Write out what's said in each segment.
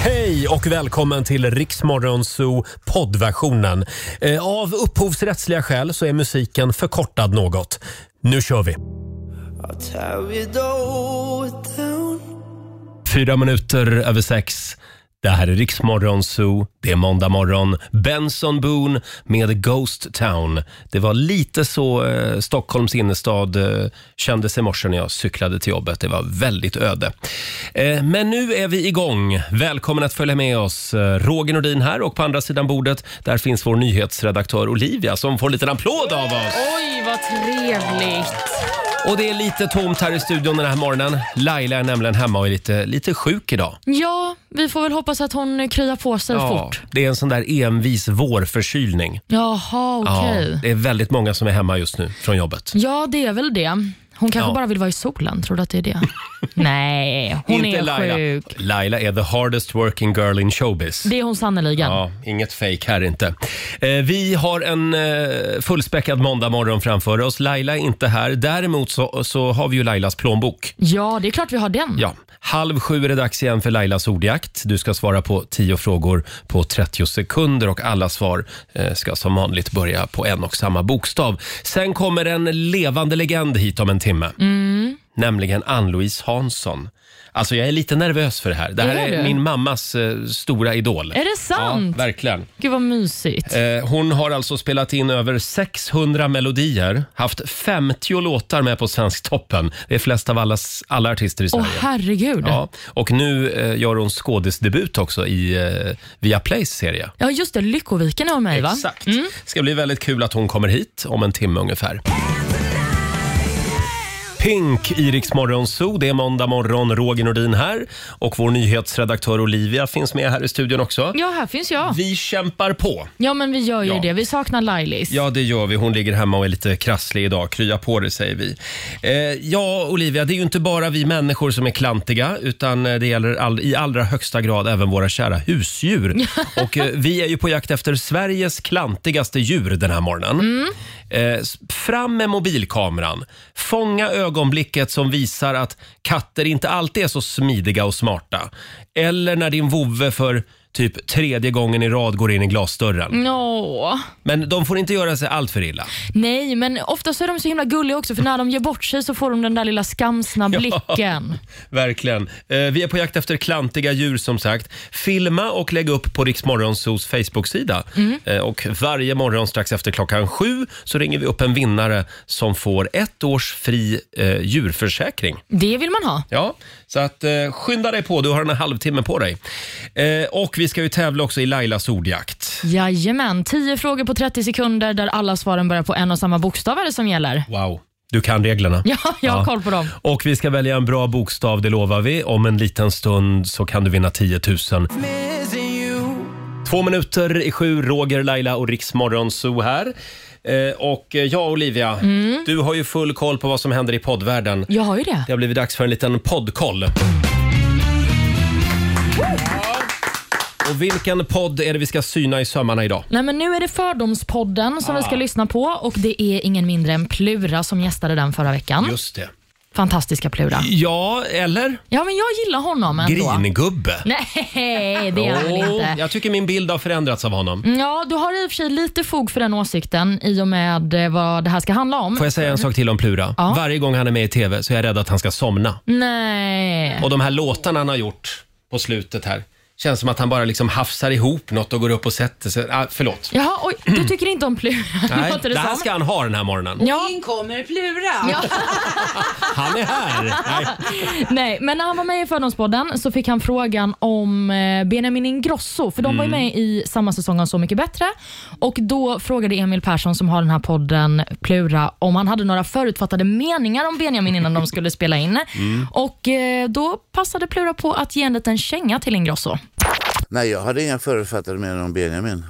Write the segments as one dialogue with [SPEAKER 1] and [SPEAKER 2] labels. [SPEAKER 1] Hej och välkommen till Riksmorgonzoo poddversionen. Eh, Av upphovsrättsliga skäl så är musiken förkortad något. Nu kör vi! Fyra minuter över sex. Det här är Riksmorgonzoo. Det är måndag morgon. Benson Boone med Ghost Town. Det var lite så eh, Stockholms innerstad eh, kändes i morse när jag cyklade till jobbet. Det var väldigt öde. Eh, men nu är vi igång. Välkommen att följa med oss. Eh, Roger Nordin här och på andra sidan bordet där finns vår nyhetsredaktör Olivia som får en liten applåd av oss.
[SPEAKER 2] Oj, vad trevligt.
[SPEAKER 1] Och det är lite tomt här i studion den här morgonen. Laila är nämligen hemma och är lite, lite sjuk idag.
[SPEAKER 2] Ja, vi får väl hoppas att hon kryar på sig fort.
[SPEAKER 1] Det är en sån där envis vårförkylning.
[SPEAKER 2] Jaha, okej.
[SPEAKER 1] Ja, det är väldigt många som är hemma just nu från jobbet.
[SPEAKER 2] Ja, det är väl det. Hon kanske
[SPEAKER 1] Ja.
[SPEAKER 2] bara vill vara i solen. Tror du att det är det? Nej, hon är sjuk.
[SPEAKER 1] Laila är the hardest working girl in showbiz.
[SPEAKER 2] Det är hon sannerligen.
[SPEAKER 1] Ja, inget fake här inte. Eh, vi har en eh, fullspäckad måndag morgon framför oss. Laila är inte här. Däremot så, så har vi ju Lailas plånbok.
[SPEAKER 2] Ja, det är klart vi har den.
[SPEAKER 1] Ja, halv sju är det dags igen för Lailas ordjakt. Du ska svara på 10 frågor på 30 sekunder och alla svar eh, ska som vanligt börja på en och samma bokstav. Sen kommer en levande legend hit om en timme.
[SPEAKER 2] Mm.
[SPEAKER 1] Nämligen Ann-Louise Hansson. Alltså jag är lite nervös för det här. Det här
[SPEAKER 2] Är
[SPEAKER 1] är,
[SPEAKER 2] du?
[SPEAKER 1] min mammas eh, stora idol.
[SPEAKER 2] Är det sant?
[SPEAKER 1] Ja, verkligen.
[SPEAKER 2] Gud vad mysigt.
[SPEAKER 1] Eh, Hon har alltså spelat in över 600 melodier, haft 50 låtar med på Svensktoppen. Det är flest av alla, alla artister i
[SPEAKER 2] Åh
[SPEAKER 1] Sverige.
[SPEAKER 2] herregud. Ja.
[SPEAKER 1] Ja, och nu eh, gör hon skådisdebut också i eh, Viaplays serie.
[SPEAKER 2] just det. Lyckoviken är av mig va? Mm.
[SPEAKER 1] Exakt. Ska bli väldigt kul att hon kommer hit om en timme ungefär. Pink i Rix Morgon Zoo. Det är måndag morgon. Roger Nordin här och vår nyhetsredaktör Olivia finns med här i studion också.
[SPEAKER 2] Ja, här finns jag.
[SPEAKER 1] Vi kämpar på.
[SPEAKER 2] Ja, men vi gör ju
[SPEAKER 1] Ja.
[SPEAKER 2] det. Vi saknar Lailis.
[SPEAKER 1] Ja, det gör vi. Hon ligger hemma och är lite krasslig idag. Krya på det, säger vi. Eh, ja, Olivia, det är ju inte bara vi människor som är klantiga, utan eh, det gäller all, i allra högsta grad även våra kära husdjur. och eh, vi är ju på jakt efter Sveriges klantigaste djur den här morgonen. Eh, s- fram med mobilkameran. Fånga ögonblicket som visar att katter inte alltid är så smidiga och smarta. Eller när din vovve för typ tredje gången i rad går in i glasdörren.
[SPEAKER 2] Mm. Nå.
[SPEAKER 1] Men de får inte göra sig allt för illa.
[SPEAKER 2] Nej, men ofta så är de så himla gulliga också för när de ger bort sig så får de den där lilla skamsna blicken.
[SPEAKER 1] Verkligen. Eh, vi är på jakt efter klantiga djur som sagt. Filma och lägg upp på Riksmorgonsos Facebook-sida. Eh, och varje morgon strax efter klockan sju så ringer vi upp en vinnare som får ett års fri eh, djurförsäkring.
[SPEAKER 2] Det vill man ha.
[SPEAKER 1] Ja, så att eh, skynda dig på. Du har en halvtimme på dig. Eh, och vi ska ju tävla också i Lailas ordjakt.
[SPEAKER 2] Jajamän, 10 frågor på 30 sekunder där alla svaren börjar på en och samma bokstav är det som gäller.
[SPEAKER 1] Wow, du kan reglerna.
[SPEAKER 2] Ja, jag har
[SPEAKER 1] Ja.
[SPEAKER 2] koll på dem.
[SPEAKER 1] Och vi ska välja en bra bokstav, det lovar vi. Om en liten stund så kan du vinna 10 000. Två minuter i sju, Roger, Laila och Riksmorgon Zoo här. Eh, och eh, ja, Olivia,
[SPEAKER 2] Mm.
[SPEAKER 1] du har ju full koll på vad som händer i poddvärlden.
[SPEAKER 2] Jag har ju det.
[SPEAKER 1] Det har blivit dags för en liten poddkoll. Och vilken podd är det vi ska syna i sömmarna idag?
[SPEAKER 2] Nej, men nu är det Fördomspodden som vi
[SPEAKER 1] Ah.
[SPEAKER 2] ska lyssna på och det är ingen mindre än Plura som gästade den förra veckan.
[SPEAKER 1] Just det.
[SPEAKER 2] Fantastiska Plura.
[SPEAKER 1] Ja, eller?
[SPEAKER 2] Ja, men jag gillar honom ändå.
[SPEAKER 1] Gringubbe.
[SPEAKER 2] Nej, det är han väl
[SPEAKER 1] Jo,
[SPEAKER 2] inte. Mm,
[SPEAKER 1] jag tycker min bild har förändrats av honom.
[SPEAKER 2] Ja, du har i och för sig lite fog för den åsikten i och med eh, vad det här ska handla om.
[SPEAKER 1] Får jag säga en sak till om Plura?
[SPEAKER 2] Ja.
[SPEAKER 1] Varje gång han är med i TV så är jag rädd att han ska somna.
[SPEAKER 2] Nej.
[SPEAKER 1] Och de här låtarna han har gjort på slutet här. Känns som att han bara liksom hafsar ihop något och går upp och sätter sig. Ah, förlåt.
[SPEAKER 2] Jaha, oj, du tycker inte om Plura?
[SPEAKER 1] Nej,
[SPEAKER 2] låter det
[SPEAKER 1] det här
[SPEAKER 2] som.
[SPEAKER 1] ska han ha den här morgonen.
[SPEAKER 2] Ja.
[SPEAKER 3] In kommer Plura.
[SPEAKER 2] Ja.
[SPEAKER 1] Han är här! Nej.
[SPEAKER 2] Nej, men när han var med i Fördomspodden så fick han frågan om eh, Benjamin Ingrosso, för de var ju med i samma säsong av Så mycket bättre. Och Då frågade Emil Persson, som har den här podden Plura, om han hade några förutfattade meningar om Benjamin innan de skulle spela in. Och eh, Då passade Plura på att ge en liten känga till Ingrosso.
[SPEAKER 4] Nej, jag hade inga förutfattade meningar om Benjamin.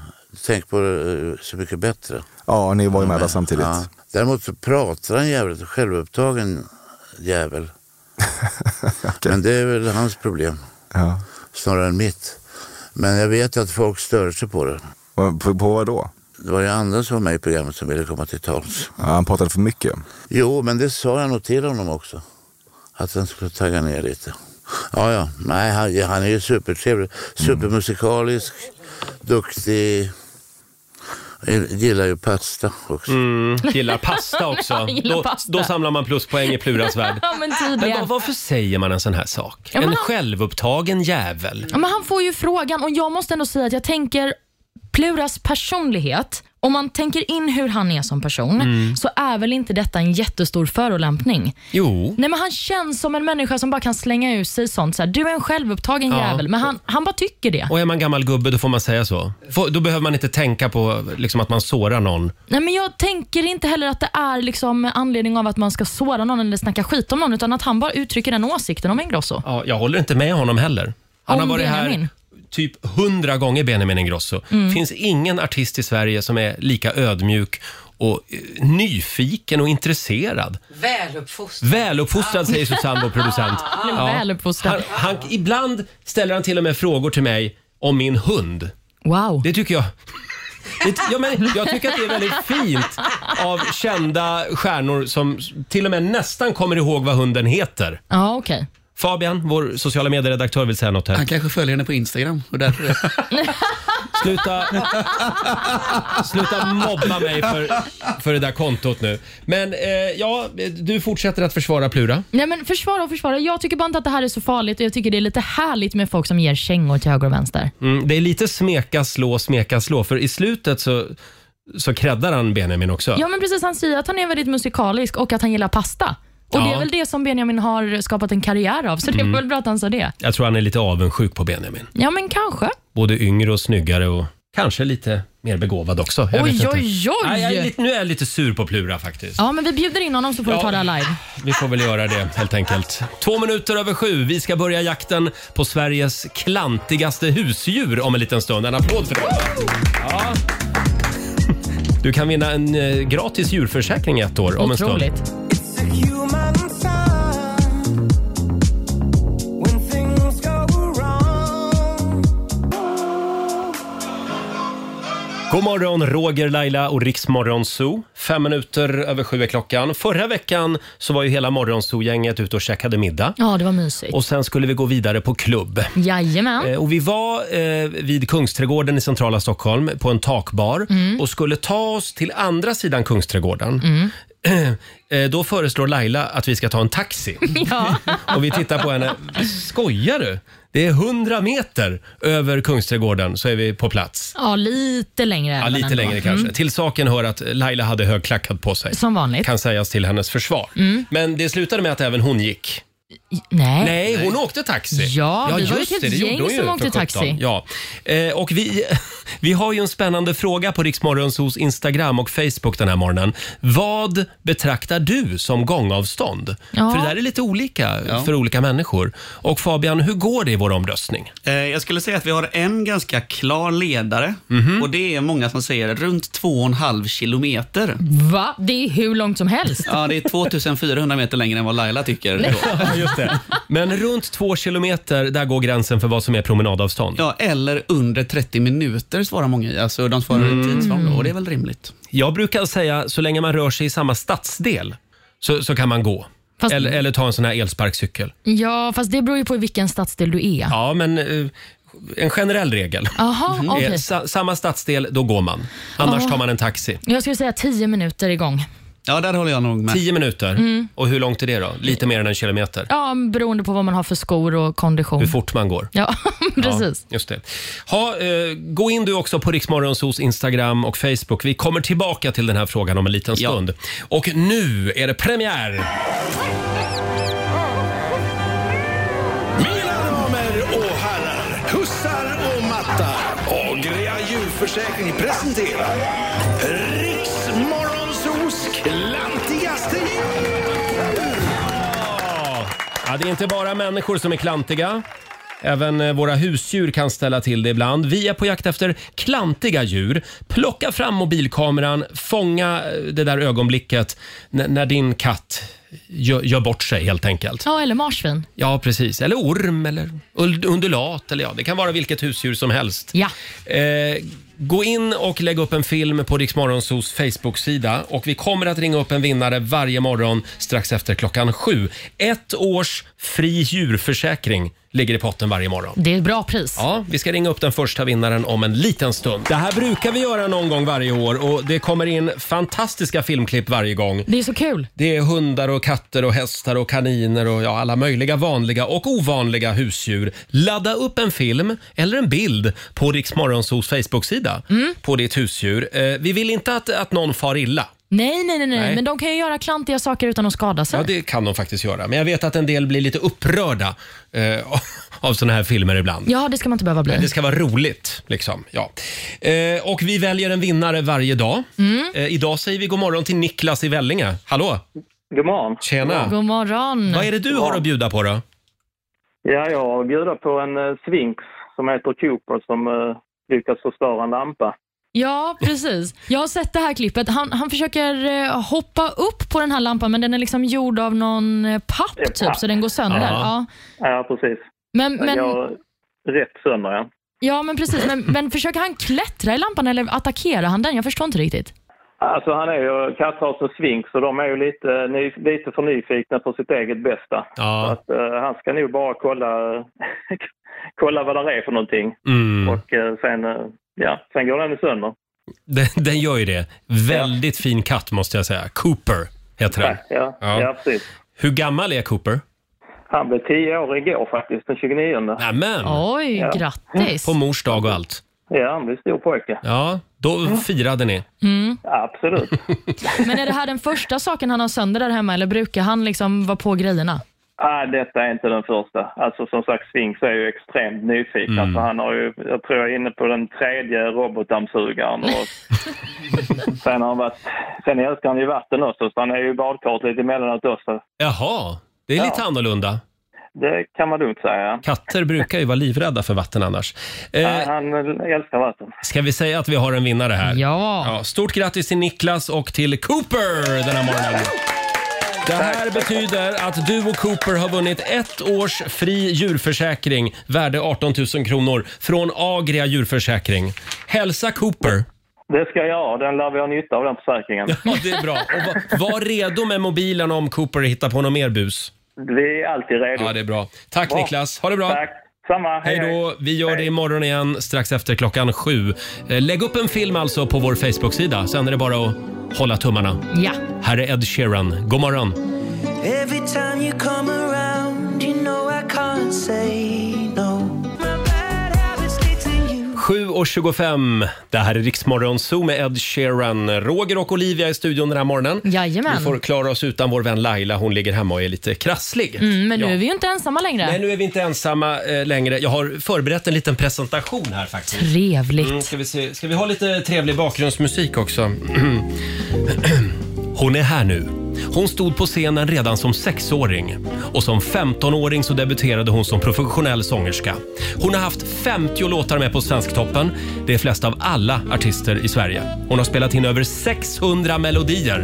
[SPEAKER 4] Tänk på eh, Så mycket bättre.
[SPEAKER 5] Ja, ni var ju med där samtidigt.
[SPEAKER 4] Ja. Däremot så pratar han jävligt självupptagen jävel.
[SPEAKER 5] Okej.
[SPEAKER 4] Men det är väl hans problem
[SPEAKER 5] Ja.
[SPEAKER 4] snarare än mitt. Men jag vet att folk stör sig på det.
[SPEAKER 5] Vad- På, på vad då?
[SPEAKER 4] Det var ju andra som var med i programmet som ville komma till tals.
[SPEAKER 5] Ja, han pratade för mycket.
[SPEAKER 4] Jo, men det sa jag nog till honom också. Att han skulle tagga ner lite. Ja, ja. Nej, han, han är ju supertrevlig. Supermusikalisk, duktig. Jag gillar ju pasta också.
[SPEAKER 1] Gillar pasta också.
[SPEAKER 2] Gillar
[SPEAKER 1] då,
[SPEAKER 2] pasta.
[SPEAKER 1] då samlar man pluspoäng i Pluras värld.
[SPEAKER 2] Ja, men
[SPEAKER 1] Men
[SPEAKER 2] tydligen.
[SPEAKER 1] vad- varför säger man en sån här sak?
[SPEAKER 2] Ja, men
[SPEAKER 1] en
[SPEAKER 2] han-
[SPEAKER 1] självupptagen jävel.
[SPEAKER 2] Ja, men han får ju frågan och jag måste ändå säga att jag tänker Pluras personlighet, om man tänker in hur han är som person, så är väl inte detta en jättestor förolämpning.
[SPEAKER 1] Jo.
[SPEAKER 2] Nej, men han känns som en människa som bara kan slänga ut sig sånt. Så här, du är en självupptagen
[SPEAKER 1] Ja.
[SPEAKER 2] jävel, men han, han bara tycker det.
[SPEAKER 1] Och är man gammal gubbe då får man säga så. Får, då behöver man inte tänka på liksom, att man sårar någon.
[SPEAKER 2] Nej, men jag tänker inte heller att det är liksom med anledning av att man ska såra någon eller snacka skit om någon, utan att han bara uttrycker den åsikten om Ingrosso.
[SPEAKER 1] Ja, jag håller inte med honom heller. Han
[SPEAKER 2] Om
[SPEAKER 1] har varit här
[SPEAKER 2] Benjamin? Mm.
[SPEAKER 1] typ hundra gånger, Benjamin Ingrosso. finns ingen artist i Sverige som är lika ödmjuk och eh, nyfiken och intresserad.
[SPEAKER 3] Väluppfostrad.
[SPEAKER 1] Väluppfostrad säger Susanne, vår producent.
[SPEAKER 2] men väluppfostrad.
[SPEAKER 1] Han, han, ibland ställer han till och med frågor till mig om min hund.
[SPEAKER 2] Wow.
[SPEAKER 1] Det tycker jag. Det- Ja, men jag tycker att det är väldigt fint av kända stjärnor som till och med nästan kommer ihåg vad hunden heter.
[SPEAKER 2] Ja, okej.
[SPEAKER 1] Fabian, vår sociala medieredaktör, vill säga något här.
[SPEAKER 6] Han kanske följer henne på Instagram och därför är
[SPEAKER 1] Sluta, sluta mobba mig för, för det där kontot nu. Men eh, ja, du fortsätter att försvara Plura.
[SPEAKER 2] Nej men försvara och försvara. Jag tycker bara inte att det här är så farligt och jag tycker det är lite härligt med folk som ger kängor till höger och vänster.
[SPEAKER 1] Mm, det är lite smeka, slå, smeka, slå. För i slutet så, så creddar han Benjamin också.
[SPEAKER 2] Ja men precis, han säger att han är väldigt musikalisk och att han gillar pasta. Och det
[SPEAKER 1] Ja. Mm.
[SPEAKER 2] är väl det som Benjamin har skapat en karriär av, så det är väl bra att han sa det.
[SPEAKER 1] Jag tror han är lite avundsjuk på Benjamin.
[SPEAKER 2] Ja men kanske.
[SPEAKER 1] Både yngre och snyggare och kanske lite mer begåvad också. Jag vet
[SPEAKER 2] Oj,
[SPEAKER 1] inte.
[SPEAKER 2] oj, oj!
[SPEAKER 1] Nej, jag är lite, nu är jag lite sur på Plura faktiskt.
[SPEAKER 2] Ja men vi bjuder in honom så får
[SPEAKER 1] Ja.
[SPEAKER 2] du ta det här live.
[SPEAKER 1] Vi får väl göra det helt enkelt. Två minuter över sju. Vi ska börja jakten på Sveriges klantigaste husdjur om en liten stund. En applåd för det. Ja. Du kan vinna en eh, gratis djurförsäkring i ett år om en stund.
[SPEAKER 2] Otroligt.
[SPEAKER 1] God morgon, Roger, Laila och Riksmorgon Zoo. Fem minuter över sju är klockan. Förra veckan så var ju hela Morgonzoo-gänget ute och käkade middag.
[SPEAKER 2] Ja, det var mysigt.
[SPEAKER 1] Och sen skulle vi gå vidare på klubb.
[SPEAKER 2] Jajamän.
[SPEAKER 1] Eh, Och vi var eh, vid Kungsträdgården i centrala Stockholm på en takbar
[SPEAKER 2] Mm.
[SPEAKER 1] och skulle ta oss till andra sidan Kungsträdgården. Eh, Då föreslår Laila att vi ska ta en taxi.
[SPEAKER 2] Ja.
[SPEAKER 1] Och vi tittar på henne. Skojar du? Det är 100 meter över Kungsträdgården så är vi på plats.
[SPEAKER 2] ja, lite längre. är
[SPEAKER 1] Ja,
[SPEAKER 2] den
[SPEAKER 1] lite
[SPEAKER 2] ändå. Mm.
[SPEAKER 1] längre kanske. Till saken hör att Laila hade högklackat på sig.
[SPEAKER 2] Som vanligt. Mm.
[SPEAKER 1] Kan sägas till hennes försvar. Men det slutade med att även hon gick.
[SPEAKER 2] Nej.
[SPEAKER 1] Nej, hon åkte taxi.
[SPEAKER 2] Ja, vi var ett helt
[SPEAKER 1] gjorde
[SPEAKER 2] gäng
[SPEAKER 1] hon ju
[SPEAKER 2] som
[SPEAKER 1] för
[SPEAKER 2] åkte
[SPEAKER 1] sjutton.
[SPEAKER 2] taxi.
[SPEAKER 1] Ja. Eh, och vi, vi har ju en spännande fråga på Riksmorgonsos Instagram och Facebook den här morgonen. Vad betraktar du som gångavstånd?
[SPEAKER 2] Ja.
[SPEAKER 1] För det där är lite olika för olika människor. Och Fabian, hur går det i vår omröstning?
[SPEAKER 6] Eh, Jag skulle säga att vi har en ganska klar ledare och det är många som säger runt 2,5 kilometer.
[SPEAKER 2] Va? Det är hur långt som helst.
[SPEAKER 6] Ja, det är 2400 meter längre än vad Laila tycker. då.
[SPEAKER 1] Just det. Men runt två kilometer, där går gränsen för vad som är promenadavstånd.
[SPEAKER 6] Ja, eller under 30 minuter svarar många i. Alltså de svarar mm. tidsram då, och det är väl rimligt.
[SPEAKER 1] Jag brukar säga, så länge man rör sig i samma stadsdel så, så kan man gå.
[SPEAKER 2] Fast-
[SPEAKER 1] Eller, eller ta en sån här elsparkcykel.
[SPEAKER 2] Ja, fast det beror ju på i vilken stadsdel du är.
[SPEAKER 1] Ja, Mm-hmm. men eh, en generell regel.
[SPEAKER 2] Jaha, okej.
[SPEAKER 1] Är sa- samma stadsdel, då går man. Annars tar man en taxi.
[SPEAKER 2] Jag skulle säga tio minuter igång.
[SPEAKER 6] Ja, där håller jag nog med.
[SPEAKER 1] Tio minuter. Och hur långt är det då? Lite mer än en kilometer.
[SPEAKER 2] Mm. Ja, beroende på vad man har för skor och kondition.
[SPEAKER 1] Hur fort man går.
[SPEAKER 2] Ja, precis.
[SPEAKER 1] Ja, just det. Ha, eh, gå in du också på Riksmorgonsos Instagram och Facebook. Vi kommer tillbaka till den här frågan om en liten
[SPEAKER 6] Ja.
[SPEAKER 1] stund. Och nu är det premiär!
[SPEAKER 7] Mina damer och herrar, hussar och matta. Agria djurförsäkring presenterar Riksmorgonsos klantigaste djur.
[SPEAKER 1] Ja, det är inte bara människor som är klantiga. Även eh, våra husdjur kan ställa till det ibland. Vi är på jakt efter klantiga djur. Plocka fram mobilkameran, fånga eh, det där ögonblicket n- när din katt gör, gör bort sig helt enkelt.
[SPEAKER 2] Ja, eller marsvin.
[SPEAKER 1] Ja, precis. Eller orm eller ul- undulat. Eller ja, det kan vara vilket husdjur som helst.
[SPEAKER 2] Ja.
[SPEAKER 1] Eh, Gå in och lägg upp en film på Rix Morgonzos Facebook-sida och vi kommer att ringa upp en vinnare varje morgon strax efter klockan sju. Ett års fri djurförsäkring ligger i potten varje morgon.
[SPEAKER 2] Det är ett bra pris.
[SPEAKER 1] Ja, vi ska ringa upp den första vinnaren om en liten stund. Det här brukar vi göra någon gång varje år och det kommer in fantastiska filmklipp varje gång.
[SPEAKER 2] Det är så kul.
[SPEAKER 1] Det är hundar och katter och hästar och kaniner och ja, alla möjliga vanliga och ovanliga husdjur. Ladda upp en film eller en bild på Rix Morgonzos Facebook-sida
[SPEAKER 2] Mm.
[SPEAKER 1] på ditt husdjur. Eh, vi vill inte att, att någon far illa.
[SPEAKER 2] Nej, nej, nej, nej,
[SPEAKER 1] Nej.
[SPEAKER 2] men de kan ju göra klantiga saker utan att skada sig.
[SPEAKER 1] Ja, det kan de faktiskt göra. Men jag vet att en del blir lite upprörda eh, av såna här filmer ibland.
[SPEAKER 2] Ja, det ska man inte behöva bli.
[SPEAKER 1] Det ska vara roligt. Liksom. Ja. Eh, och vi väljer en vinnare varje dag.
[SPEAKER 2] Mm.
[SPEAKER 1] Eh, idag säger vi god morgon till Niklas i Vellinge. Hallå!
[SPEAKER 3] God morgon.
[SPEAKER 1] Tjena!
[SPEAKER 2] God morgon.
[SPEAKER 1] Vad är det du har att bjuda på då?
[SPEAKER 3] Ja, jag bjuder på en eh, Sphinx som heter Cooper som eh, lyckas förstöra en lampa.
[SPEAKER 2] Ja, precis. Jag har sett det här klippet. Han, han försöker eh, hoppa upp på den här lampan, men den är liksom gjord av någon eh, papp,
[SPEAKER 3] papp.
[SPEAKER 2] typ, så den går sönder.
[SPEAKER 1] Ja.
[SPEAKER 2] Ja.
[SPEAKER 3] Ja, precis.
[SPEAKER 2] Men, men,
[SPEAKER 3] Jag rätt sönder ja.
[SPEAKER 2] ja, men precis. Men, men försöker han klättra i lampan eller attackerar han den? Jag förstår inte riktigt.
[SPEAKER 3] Alltså han är ju katthas och Sphinx så de är ju lite, eh, ny, lite för nyfikna på sitt eget bästa. Så
[SPEAKER 1] Ja.
[SPEAKER 3] att, eh, han ska nog bara kolla, kolla vad det är för någonting.
[SPEAKER 1] Mm.
[SPEAKER 3] Och eh, sen, eh, ja, sen går den ju sönder.
[SPEAKER 1] Den, den gör ju det. Väldigt fin katt måste jag säga. Cooper heter den.
[SPEAKER 3] Ja,
[SPEAKER 1] Ja.
[SPEAKER 3] ja. precis.
[SPEAKER 1] Hur gammal är Cooper?
[SPEAKER 3] Han blev 10 år igår faktiskt, den 29.
[SPEAKER 1] Nämen!
[SPEAKER 2] Oj, grattis.
[SPEAKER 1] På mors dag och allt.
[SPEAKER 3] Ja, han blir stor pojke.
[SPEAKER 1] Ja, då firade ni.
[SPEAKER 3] Absolut.
[SPEAKER 2] Men är det här den första saken han har sönder där hemma eller brukar han liksom vara på grejerna?
[SPEAKER 3] Nej, Ah, detta är inte den första. Alltså som sagt, Sphinx är ju extremt nyfiken. Alltså, han har ju, jag tror jag är inne på den tredje robotdammsugaren. Och sen, har han varit, sen älskar han ju vatten också, så han är ju i badkaret lite emellanåt också.
[SPEAKER 1] Jaha, det är lite annorlunda.
[SPEAKER 3] Det kan man lugnt säga.
[SPEAKER 1] Katter brukar ju vara livrädda för vatten annars.
[SPEAKER 3] Nej,
[SPEAKER 1] Eh,
[SPEAKER 3] han älskar vatten.
[SPEAKER 1] ska vi säga att vi har en vinnare här?
[SPEAKER 2] Ja.
[SPEAKER 1] Ja, stort grattis till Niklas och till Cooper den här morgonen. Det här betyder att du och Cooper har vunnit ett års fri djurförsäkring värde 18 000 kronor från Agria djurförsäkring. Hälsa Cooper.
[SPEAKER 3] Det ska jag göra. Den lär vi ha nytta av, den försäkringen.
[SPEAKER 1] Ja, det är bra. Och va- var redo med mobilen om Cooper hittar på något mer bus.
[SPEAKER 3] Vi är alltid redo.
[SPEAKER 1] Ja, det är bra. Tack Niklas. Ha det bra.
[SPEAKER 3] Tack. Samma.
[SPEAKER 1] Hej då. Vi gör det imorgon igen strax efter klockan sju. Eh, Lägg upp en film alltså på vår Facebook-sida. Sen är det bara att hålla tummarna.
[SPEAKER 2] Ja.
[SPEAKER 1] Här är Ed Sheeran. God morgon.
[SPEAKER 8] Every time you come around, you know I can't say no. My bad habits lead to you.
[SPEAKER 1] 7.25. Det här är Riksmorgon Zoo med Ed Sheeran. Roger och Olivia i studion den här morgonen.
[SPEAKER 2] Jajamän.
[SPEAKER 1] Vi får klara oss utan vår vän Laila. Hon ligger hemma och är lite krasslig.
[SPEAKER 2] Mm, men nu
[SPEAKER 1] Ja.
[SPEAKER 2] är vi ju inte ensamma längre.
[SPEAKER 1] Nej, nu är vi inte ensamma eh, längre. Jag har förberett en liten presentation här faktiskt.
[SPEAKER 2] Trevligt.
[SPEAKER 1] Mm, ska, vi se. ska vi ha lite trevlig bakgrundsmusik också? Mm. Hon är här nu. Hon stod på scenen redan som sexåring och som 15-åring så debuterade hon som professionell sångerska. Hon har haft 50 låtar med på Svensktoppen. Det är flest av alla artister i Sverige. Hon har spelat in över 600 melodier.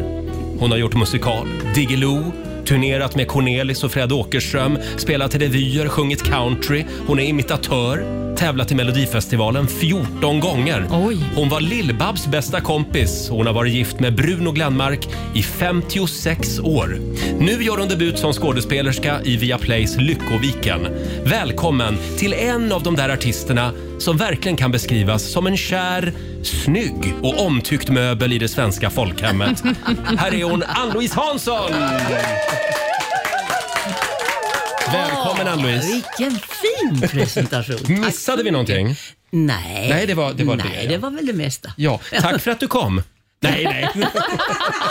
[SPEAKER 1] Hon har gjort musikal, Diggiloo, turnerat med Cornelis och Fred Åkerström, spelat i revyer, sjungit country. Hon är imitatör, tävlat i Melodifestivalen 14 gånger.
[SPEAKER 2] Oj.
[SPEAKER 1] Hon var Lill-Babs bästa kompis och hon har varit gift med Bruno Glenmark i 56 år. Nu gör hon debut som skådespelerska i Viaplays Lyckoviken. Välkommen till en av de där artisterna som verkligen kan beskrivas som en kär, snygg och omtyckt möbel i det svenska folkhemmet. Här är hon, Ann-Louise Hansson! Välkommen Ann-Louise!
[SPEAKER 9] Vilken fin presentation.
[SPEAKER 1] Missade vi någonting?
[SPEAKER 9] Nej.
[SPEAKER 1] Nej, det var- det var det,
[SPEAKER 9] Nej,
[SPEAKER 1] ja.
[SPEAKER 9] det var väl det mesta.
[SPEAKER 1] Ja, tack för att du kom. Nej, nej.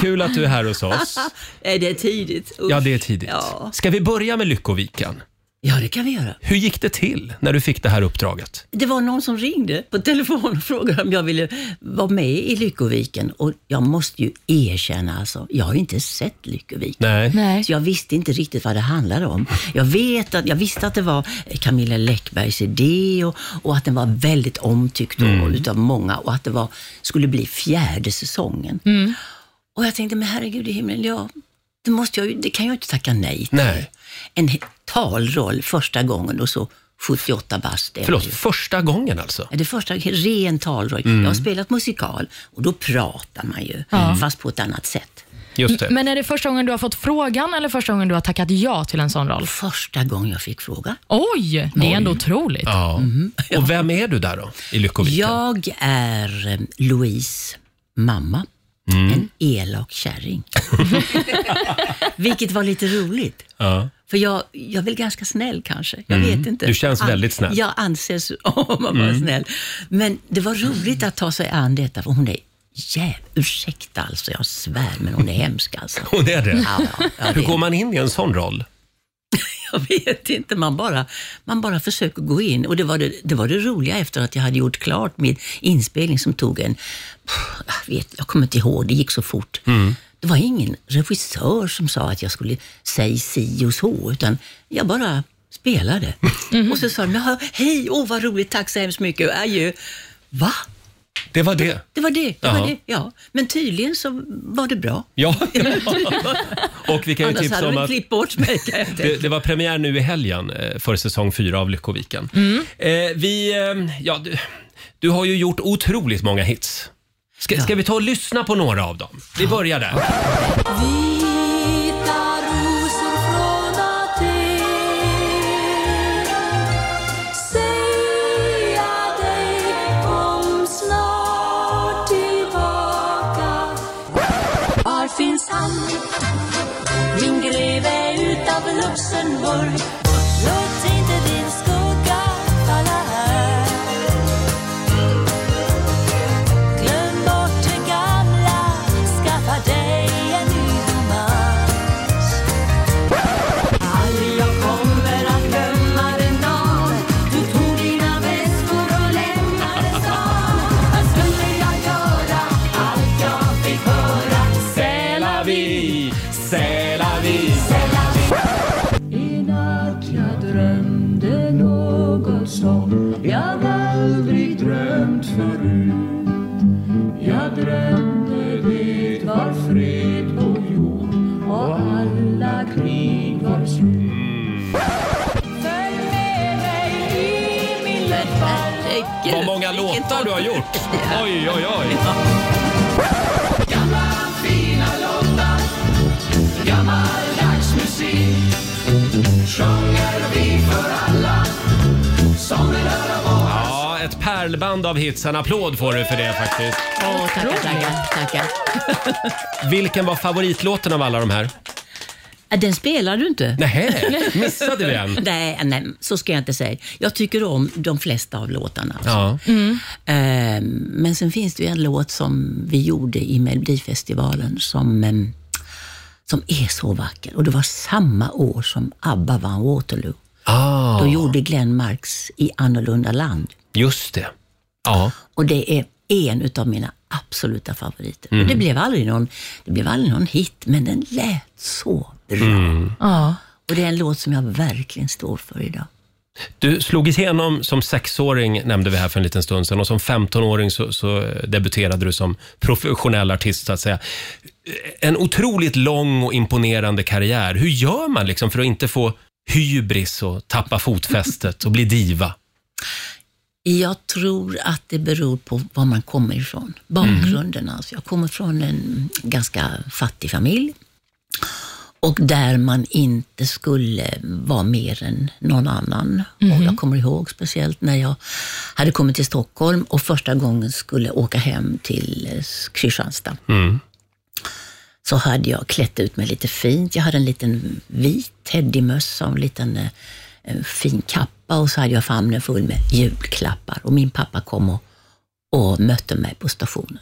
[SPEAKER 1] Kul att du är här hos oss.
[SPEAKER 9] Är det tidigt? Usch.
[SPEAKER 1] Ja, det är tidigt.
[SPEAKER 9] Ja.
[SPEAKER 1] Ska vi börja med Lyckoviken?
[SPEAKER 9] ja, det kan vi göra.
[SPEAKER 1] Hur gick det till när du fick det här uppdraget?
[SPEAKER 9] Det var någon som ringde på telefon och frågade om jag ville vara med i Lyckoviken. Och jag måste ju erkänna, alltså, jag har ju inte sett Lyckoviken.
[SPEAKER 1] Nej.
[SPEAKER 2] Nej.
[SPEAKER 9] Så jag visste inte riktigt vad det handlade om. Jag, vet att, jag visste att det var Camilla Läckbergs idé och, och att den var väldigt omtyckt då utav många och att det var, skulle bli fjärde säsongen. Och jag tänkte, men herregud i himlen, ja, det, måste jag, ju- det kan jag ju inte tacka nej till.
[SPEAKER 1] Nej.
[SPEAKER 9] En he- talroll första gången och så 78 bast. är
[SPEAKER 1] Förlåt,
[SPEAKER 9] man ju.
[SPEAKER 1] första gången alltså?
[SPEAKER 9] Ja, Det första, ren talrock. Jag har spelat musikal och då pratar man ju, fast på ett annat sätt.
[SPEAKER 1] Just
[SPEAKER 9] Mm,
[SPEAKER 1] det.
[SPEAKER 2] Men är det första gången du har fått frågan eller första gången du har tackat ja till en sån roll?
[SPEAKER 9] Första gången jag fick fråga.
[SPEAKER 2] Oj, det är ändå otroligt.
[SPEAKER 1] Ja. Och vem är du där då, i Lyckoviken?
[SPEAKER 9] Jag är eh, Louise mamma.
[SPEAKER 1] Mm.
[SPEAKER 9] En elak kärring. Vilket var lite roligt.
[SPEAKER 1] Ja.
[SPEAKER 9] För jag, jag är väl ganska snäll kanske. Jag vet inte.
[SPEAKER 1] Mm. Du känns väldigt snäll. Mm.
[SPEAKER 9] Jag anses om att vara snäll. Men det var roligt att ta sig an detta för hon är jäv... Ursäkta alltså, jag svär men hon är hemsk alltså.
[SPEAKER 1] Hon är det?
[SPEAKER 9] Ja, ja, ja,
[SPEAKER 1] Hur
[SPEAKER 9] det-
[SPEAKER 1] går man in i en sån roll?
[SPEAKER 9] jag vet inte, man bara, man bara försöker gå in. Och det var det, det var det roliga efter att jag hade gjort klart min inspelning som tog en, pff, jag, vet, jag kommer inte ihåg, det gick så fort. Det var ingen regissör som sa att jag skulle säga si och så, utan jag bara spelade. Och så sa de, "Jaha, hej, åh vad roligt, tack så hemskt mycket, adjö. Va?
[SPEAKER 1] Det var det.
[SPEAKER 9] Det var det, det
[SPEAKER 1] Jaha.
[SPEAKER 9] var det, ja. Men tydligen så var det bra.
[SPEAKER 1] Ja. Och vi kan ju
[SPEAKER 9] Annars
[SPEAKER 1] tipsa
[SPEAKER 9] hade
[SPEAKER 1] om
[SPEAKER 9] de
[SPEAKER 1] typ att
[SPEAKER 9] klippt bort mig kan jag tänka.
[SPEAKER 1] det, det var premiär nu i helgen eh, för säsong fyra av Lyckoviken. Eh, vi, eh, ja, du, du har ju gjort otroligt många hits. Ska, ska vi ta och lyssna på några av dem? Vi börjar där.
[SPEAKER 8] Vita rosor från Aten Säga dig, kom snart tillbaka Var finns han? Min greve utav Luxemburg Låt inte din skugga falla här Glöm bort det gamla, skaffa dig en ny romans. Aldrig jag kommer att glömma den dag du tog dina väskor och lämnade stan. Vad skulle jag göra? Allt jag fick höra.
[SPEAKER 1] C'est la vie, c'est la vie.
[SPEAKER 8] I natt jag drömde något som jag aldrig drömt förut. Jag drömde det var fred på jord och alla krig var slut. Följ med mig i min lättfall
[SPEAKER 1] Vad många låtar du har gjort! Oj, oj, oj. Ja, ett pärlband av hits. En applåd får du för det faktiskt.
[SPEAKER 9] Åh, tackar, tackar, tackar.
[SPEAKER 1] Vilken var favoritlåten av alla de här?
[SPEAKER 9] Ja, Äh, Den spelar du inte.
[SPEAKER 1] Nej, missade vi den?
[SPEAKER 9] Nej, nej, så ska jag inte säga. Jag tycker om de flesta av låtarna.
[SPEAKER 1] Ja.
[SPEAKER 9] Eh, men sen finns det ju en låt som vi gjorde i Melodifestivalen som, eh, som är så vacker. Och det var samma år som ABBA vann Waterloo.
[SPEAKER 1] Ah,
[SPEAKER 9] Då gjorde Glenn Marks I annorlunda land.
[SPEAKER 1] just det. Ja.
[SPEAKER 9] Och det är en utav mina absoluta favoriter. Och
[SPEAKER 1] Mhm.
[SPEAKER 9] Det, blev aldrig någon, det blev aldrig någon hit, men den lät så bra.
[SPEAKER 2] Ja.
[SPEAKER 9] Och det är en låt som jag verkligen står för idag.
[SPEAKER 1] Du slog igenom som sexåring, nämnde vi här för en liten stund sedan, och som 15-åring så, så debuterade du som professionell artist, så att säga. En otroligt lång och imponerande karriär. Hur gör man liksom för att inte få hybris och tappa fotfästet och bli diva?
[SPEAKER 9] Jag tror att det beror på var man kommer ifrån. Bakgrunden alltså. Jag kommer från en ganska fattig familj. Och där man inte skulle vara mer än någon annan. Och jag kommer ihåg speciellt när jag hade kommit till Stockholm och första gången skulle åka hem till eh, Kristianstad. Så hade jag klätt ut mig lite fint. Jag hade en liten vit teddymössa och en liten eh, en fin kappa och så hade jag famnen full med julklappar. Och min pappa kom och, och mötte mig på stationen.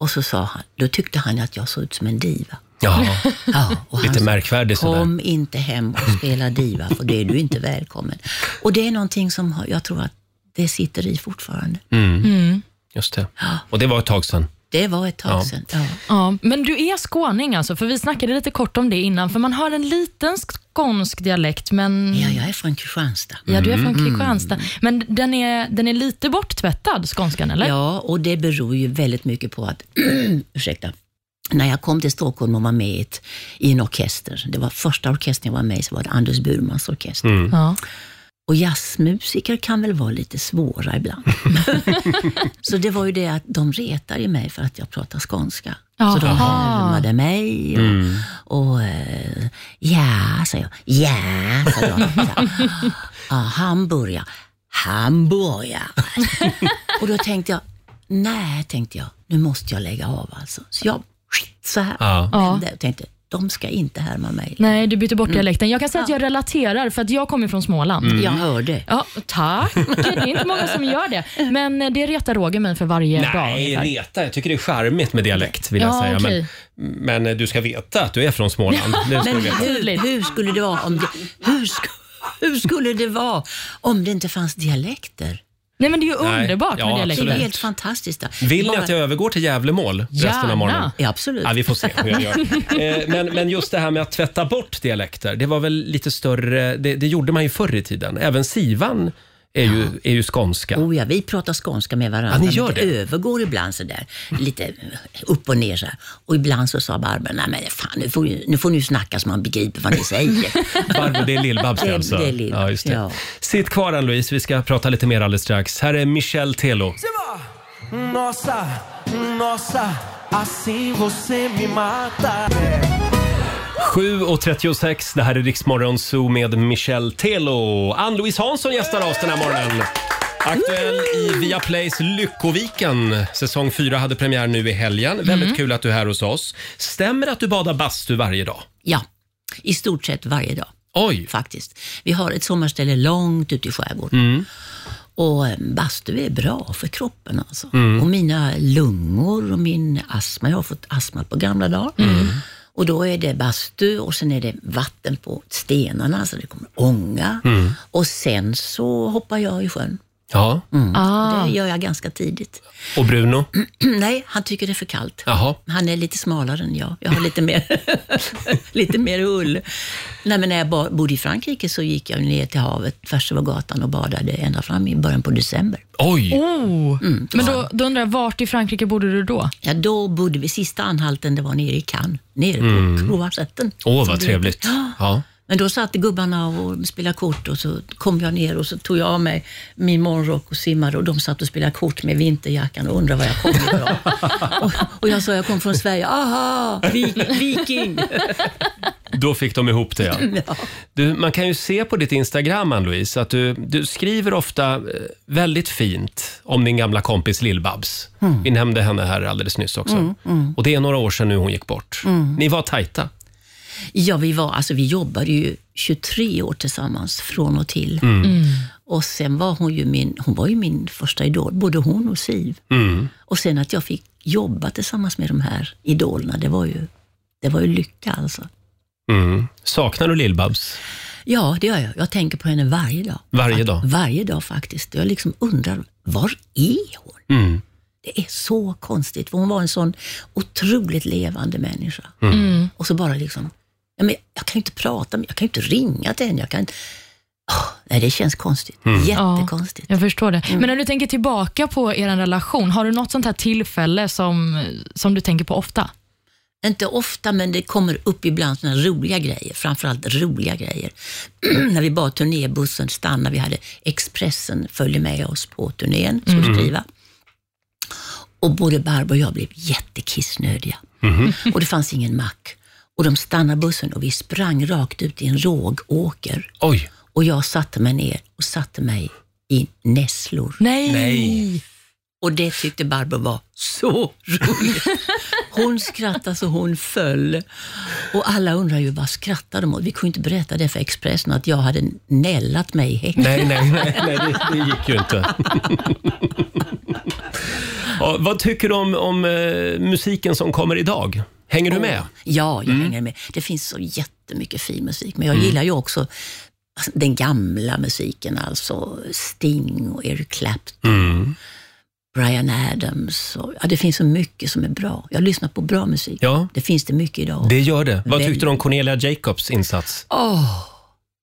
[SPEAKER 9] Och så sa han, då tyckte han att jag såg ut som en diva.
[SPEAKER 1] Ja,
[SPEAKER 9] Ja, och
[SPEAKER 1] lite
[SPEAKER 9] han sa,
[SPEAKER 1] märkvärdig sådär.
[SPEAKER 9] Alltså, Kom inte hem och spela diva, för då är du inte välkommen. Och det är någonting som har- jag tror att det sitter i fortfarande.
[SPEAKER 1] Mm. Just det. Och det var ett tag sedan.
[SPEAKER 9] Det var ett tag
[SPEAKER 1] Ja.
[SPEAKER 9] sedan. Ja.
[SPEAKER 2] Ja, men du är skåning alltså, för vi snackade lite kort om det innan, för man har en liten skånsk dialekt, men
[SPEAKER 9] ja, jag är från Kristianstad.
[SPEAKER 2] Ja, du är från Kristianstad. Men den är, den är lite borttvättad, skånskan, eller?
[SPEAKER 9] Ja, och det beror ju väldigt mycket på att, ursäkta, när jag kom till Stockholm och var med i ett, i en orkester, det var första orkestern jag var med i, så var det Anders Burmans orkester.
[SPEAKER 2] Ja.
[SPEAKER 9] Och jazzmusiker kan väl vara lite svåra ibland. så det var ju det att de retar i mig för att jag pratar skånska. Så de
[SPEAKER 2] Jaha.
[SPEAKER 9] härmade mig och, och eh, ja, sa jag. Ja, sa de. Ja, hamburgare. Hamburgare. och då tänkte jag, nej, tänkte jag, nu måste jag lägga av alltså. Så jag, så här,
[SPEAKER 1] Ja.
[SPEAKER 9] vände och tänkte, de ska inte härma mig.
[SPEAKER 2] Nej, du byter bort dialekten. Jag kan säga att jag relaterar för att jag kommer från Småland.
[SPEAKER 9] Jag hörde.
[SPEAKER 2] Ja, tack. Det är inte många som gör det. Men eh, det retar Roger mig för varje dag.
[SPEAKER 1] Nej,
[SPEAKER 2] ungefär.
[SPEAKER 1] reta. Jag tycker det är charmigt med dialekt vill jag
[SPEAKER 2] Ja,
[SPEAKER 1] säga.
[SPEAKER 2] okej.
[SPEAKER 1] Men, men du ska veta att du är från Småland. Det ska
[SPEAKER 9] Men
[SPEAKER 1] du veta.
[SPEAKER 9] hur,
[SPEAKER 2] Tydligt.
[SPEAKER 9] hur skulle det vara om det, hur, sk- hur skulle det vara om det inte fanns dialekter?
[SPEAKER 2] Nej, men det är ju
[SPEAKER 1] Nej,
[SPEAKER 2] underbart
[SPEAKER 1] ja,
[SPEAKER 2] med
[SPEAKER 9] Det är
[SPEAKER 2] dialekter.
[SPEAKER 9] ju
[SPEAKER 1] absolut.
[SPEAKER 9] helt fantastiskt. där.
[SPEAKER 1] Vill ni
[SPEAKER 9] Bara-
[SPEAKER 1] att jag övergår till Gävlemål resten
[SPEAKER 2] Gärna.
[SPEAKER 1] av morgonen?
[SPEAKER 9] Ja, absolut.
[SPEAKER 1] Ja, vi får se hur jag gör. Eh, Men, men just det här med att tvätta bort dialekter, det var väl lite större, det, det gjorde man ju förr i tiden. Även Sivan är ju, är ju skånska.
[SPEAKER 9] Oh ja, vi pratar skånska med varandra.
[SPEAKER 1] Ja, ni
[SPEAKER 9] men
[SPEAKER 1] gör det.
[SPEAKER 9] övergår ibland sådär, lite upp och ner så här. Och ibland så sa Barbro, nej men fan, nu får, ju- nu får ni ju snacka så man begriper vad ni säger.
[SPEAKER 1] Barbro, det är Lill-Babs
[SPEAKER 9] Det-
[SPEAKER 1] alltså.
[SPEAKER 9] det är Lill-Babs,
[SPEAKER 1] ja, just det.
[SPEAKER 9] ja.
[SPEAKER 1] Sitt kvar än, Louise, vi ska prata lite mer alldeles strax. Här är Michel Telo.
[SPEAKER 7] Nossa, nossa, assim você me mata.
[SPEAKER 1] 7.36, det här är Riksmorgon Zoo med Michel Telo. Ann-Louise Hansson gästar oss den här morgonen. Aktuell i Viaplays Lyckoviken. Säsong 4 hade premiär nu i helgen.
[SPEAKER 9] Mm.
[SPEAKER 1] Väldigt kul att du är här hos oss. Stämmer det att du badar bastu varje dag?
[SPEAKER 9] ja, i stort sett varje dag.
[SPEAKER 1] Oj!
[SPEAKER 9] faktiskt. Vi har ett sommarställe långt ute i skärgården. Och eh, bastu är bra för kroppen alltså. Och mina lungor och min astma, jag har fått astma på gamla dagar. Och då är det bastu och sen är det vatten på stenarna så det kommer ånga. Och sen så hoppar jag i sjön.
[SPEAKER 1] Ja.
[SPEAKER 2] Ah.
[SPEAKER 9] Och det gör jag ganska tidigt.
[SPEAKER 1] Och Bruno?
[SPEAKER 9] Nej, han tycker det är för kallt.
[SPEAKER 1] Jaha.
[SPEAKER 9] Han är lite smalare än jag. Jag har lite mer, lite mer ull. Nej, men när jag ba- bodde i Frankrike så gick jag ner till havet tvärs över gatan och badade ända fram i början på december.
[SPEAKER 1] Oj!
[SPEAKER 2] Oh. Men då, då undrar jag, vart i Frankrike bodde du då?
[SPEAKER 9] Ja, då bodde vi, sista anhalten det var nere i Cannes, nere på Croissetten.
[SPEAKER 1] Mm. Åh, vad trevligt. Ja.
[SPEAKER 9] Men då satt gubbarna och spelade kort och så kom jag ner och så tog jag av mig min morgonrock och simmade och de satt och spelade kort med vinterjackan och undrade var jag kom ifrån. och, och jag sa jag kom från Sverige. Aha, vik- viking!
[SPEAKER 1] Då fick de ihop det, ja. Du, man kan ju se på ditt Instagram, Ann-Louise, att du, du skriver ofta eh, väldigt fint om din gamla kompis Lill-Babs. Vi nämnde henne här alldeles nyss också. Och det är några år sedan nu hon gick bort. Ni var tajta.
[SPEAKER 9] Ja, vi, var, alltså, vi jobbade ju 23 år tillsammans från och till.
[SPEAKER 1] Mm.
[SPEAKER 9] Och sen var hon ju min, hon var ju min första idol, både hon och Siv.
[SPEAKER 1] Mm.
[SPEAKER 9] Och sen att jag fick jobba tillsammans med de här idolerna, det var ju, det var ju lycka alltså.
[SPEAKER 1] Mm. Saknar du Lill-Babs?
[SPEAKER 9] Ja, det gör jag. Jag tänker på henne varje dag.
[SPEAKER 1] Varje dag?
[SPEAKER 9] Varje dag faktiskt. Jag liksom undrar, var är hon?
[SPEAKER 1] Mm.
[SPEAKER 9] Det är så konstigt, för hon var en sån otroligt levande människa.
[SPEAKER 2] Mm.
[SPEAKER 9] Och så bara liksom, ja, men jag kan ju inte prata, med- jag kan ju inte ringa till henne. Jag kan inte, Åh, nej, det känns konstigt. Jättekonstigt.
[SPEAKER 2] Jag förstår det. Men när du tänker tillbaka på er relation, har du något sånt här tillfälle som, som du tänker på ofta?
[SPEAKER 9] Inte ofta, men det kommer upp ibland såna här roliga grejer. Framförallt roliga grejer. När vi bad turnébussen stanna, vi hade Expressen följde med oss på turnén, skulle skriva. Och både Barbro och jag blev jättekissnödiga. Och det fanns ingen mack. Och de stannade bussen och vi sprang rakt ut i en rågåker.
[SPEAKER 1] Oj!
[SPEAKER 9] Och jag satte mig ner och satte mig i nässlor.
[SPEAKER 2] Nej.
[SPEAKER 1] Nej.
[SPEAKER 9] Och det tyckte Barbro var så roligt. Hon skrattade så hon föll. Och alla undrar ju vad skrattar de åt? Vi kunde inte berätta det för Expressen att jag hade nällat mig i häcken.
[SPEAKER 1] Nej, nej, nej, nej det, det gick ju inte. ja, vad tycker du om, om eh, musiken som kommer idag? Hänger du med? Mm.
[SPEAKER 9] Ja, jag hänger med. Det finns så jättemycket fin musik, men jag gillar ju också alltså, den gamla musiken, alltså Sting och Eric Clapton. Bryan Adams. Och, ja, det finns så mycket som är bra. Jag lyssnar på bra musik.
[SPEAKER 1] Ja.
[SPEAKER 9] Det finns det mycket idag.
[SPEAKER 1] Det gör det. Vad
[SPEAKER 9] Väldigt.
[SPEAKER 1] tyckte du om Cornelia Jacobs insats?
[SPEAKER 9] Åh,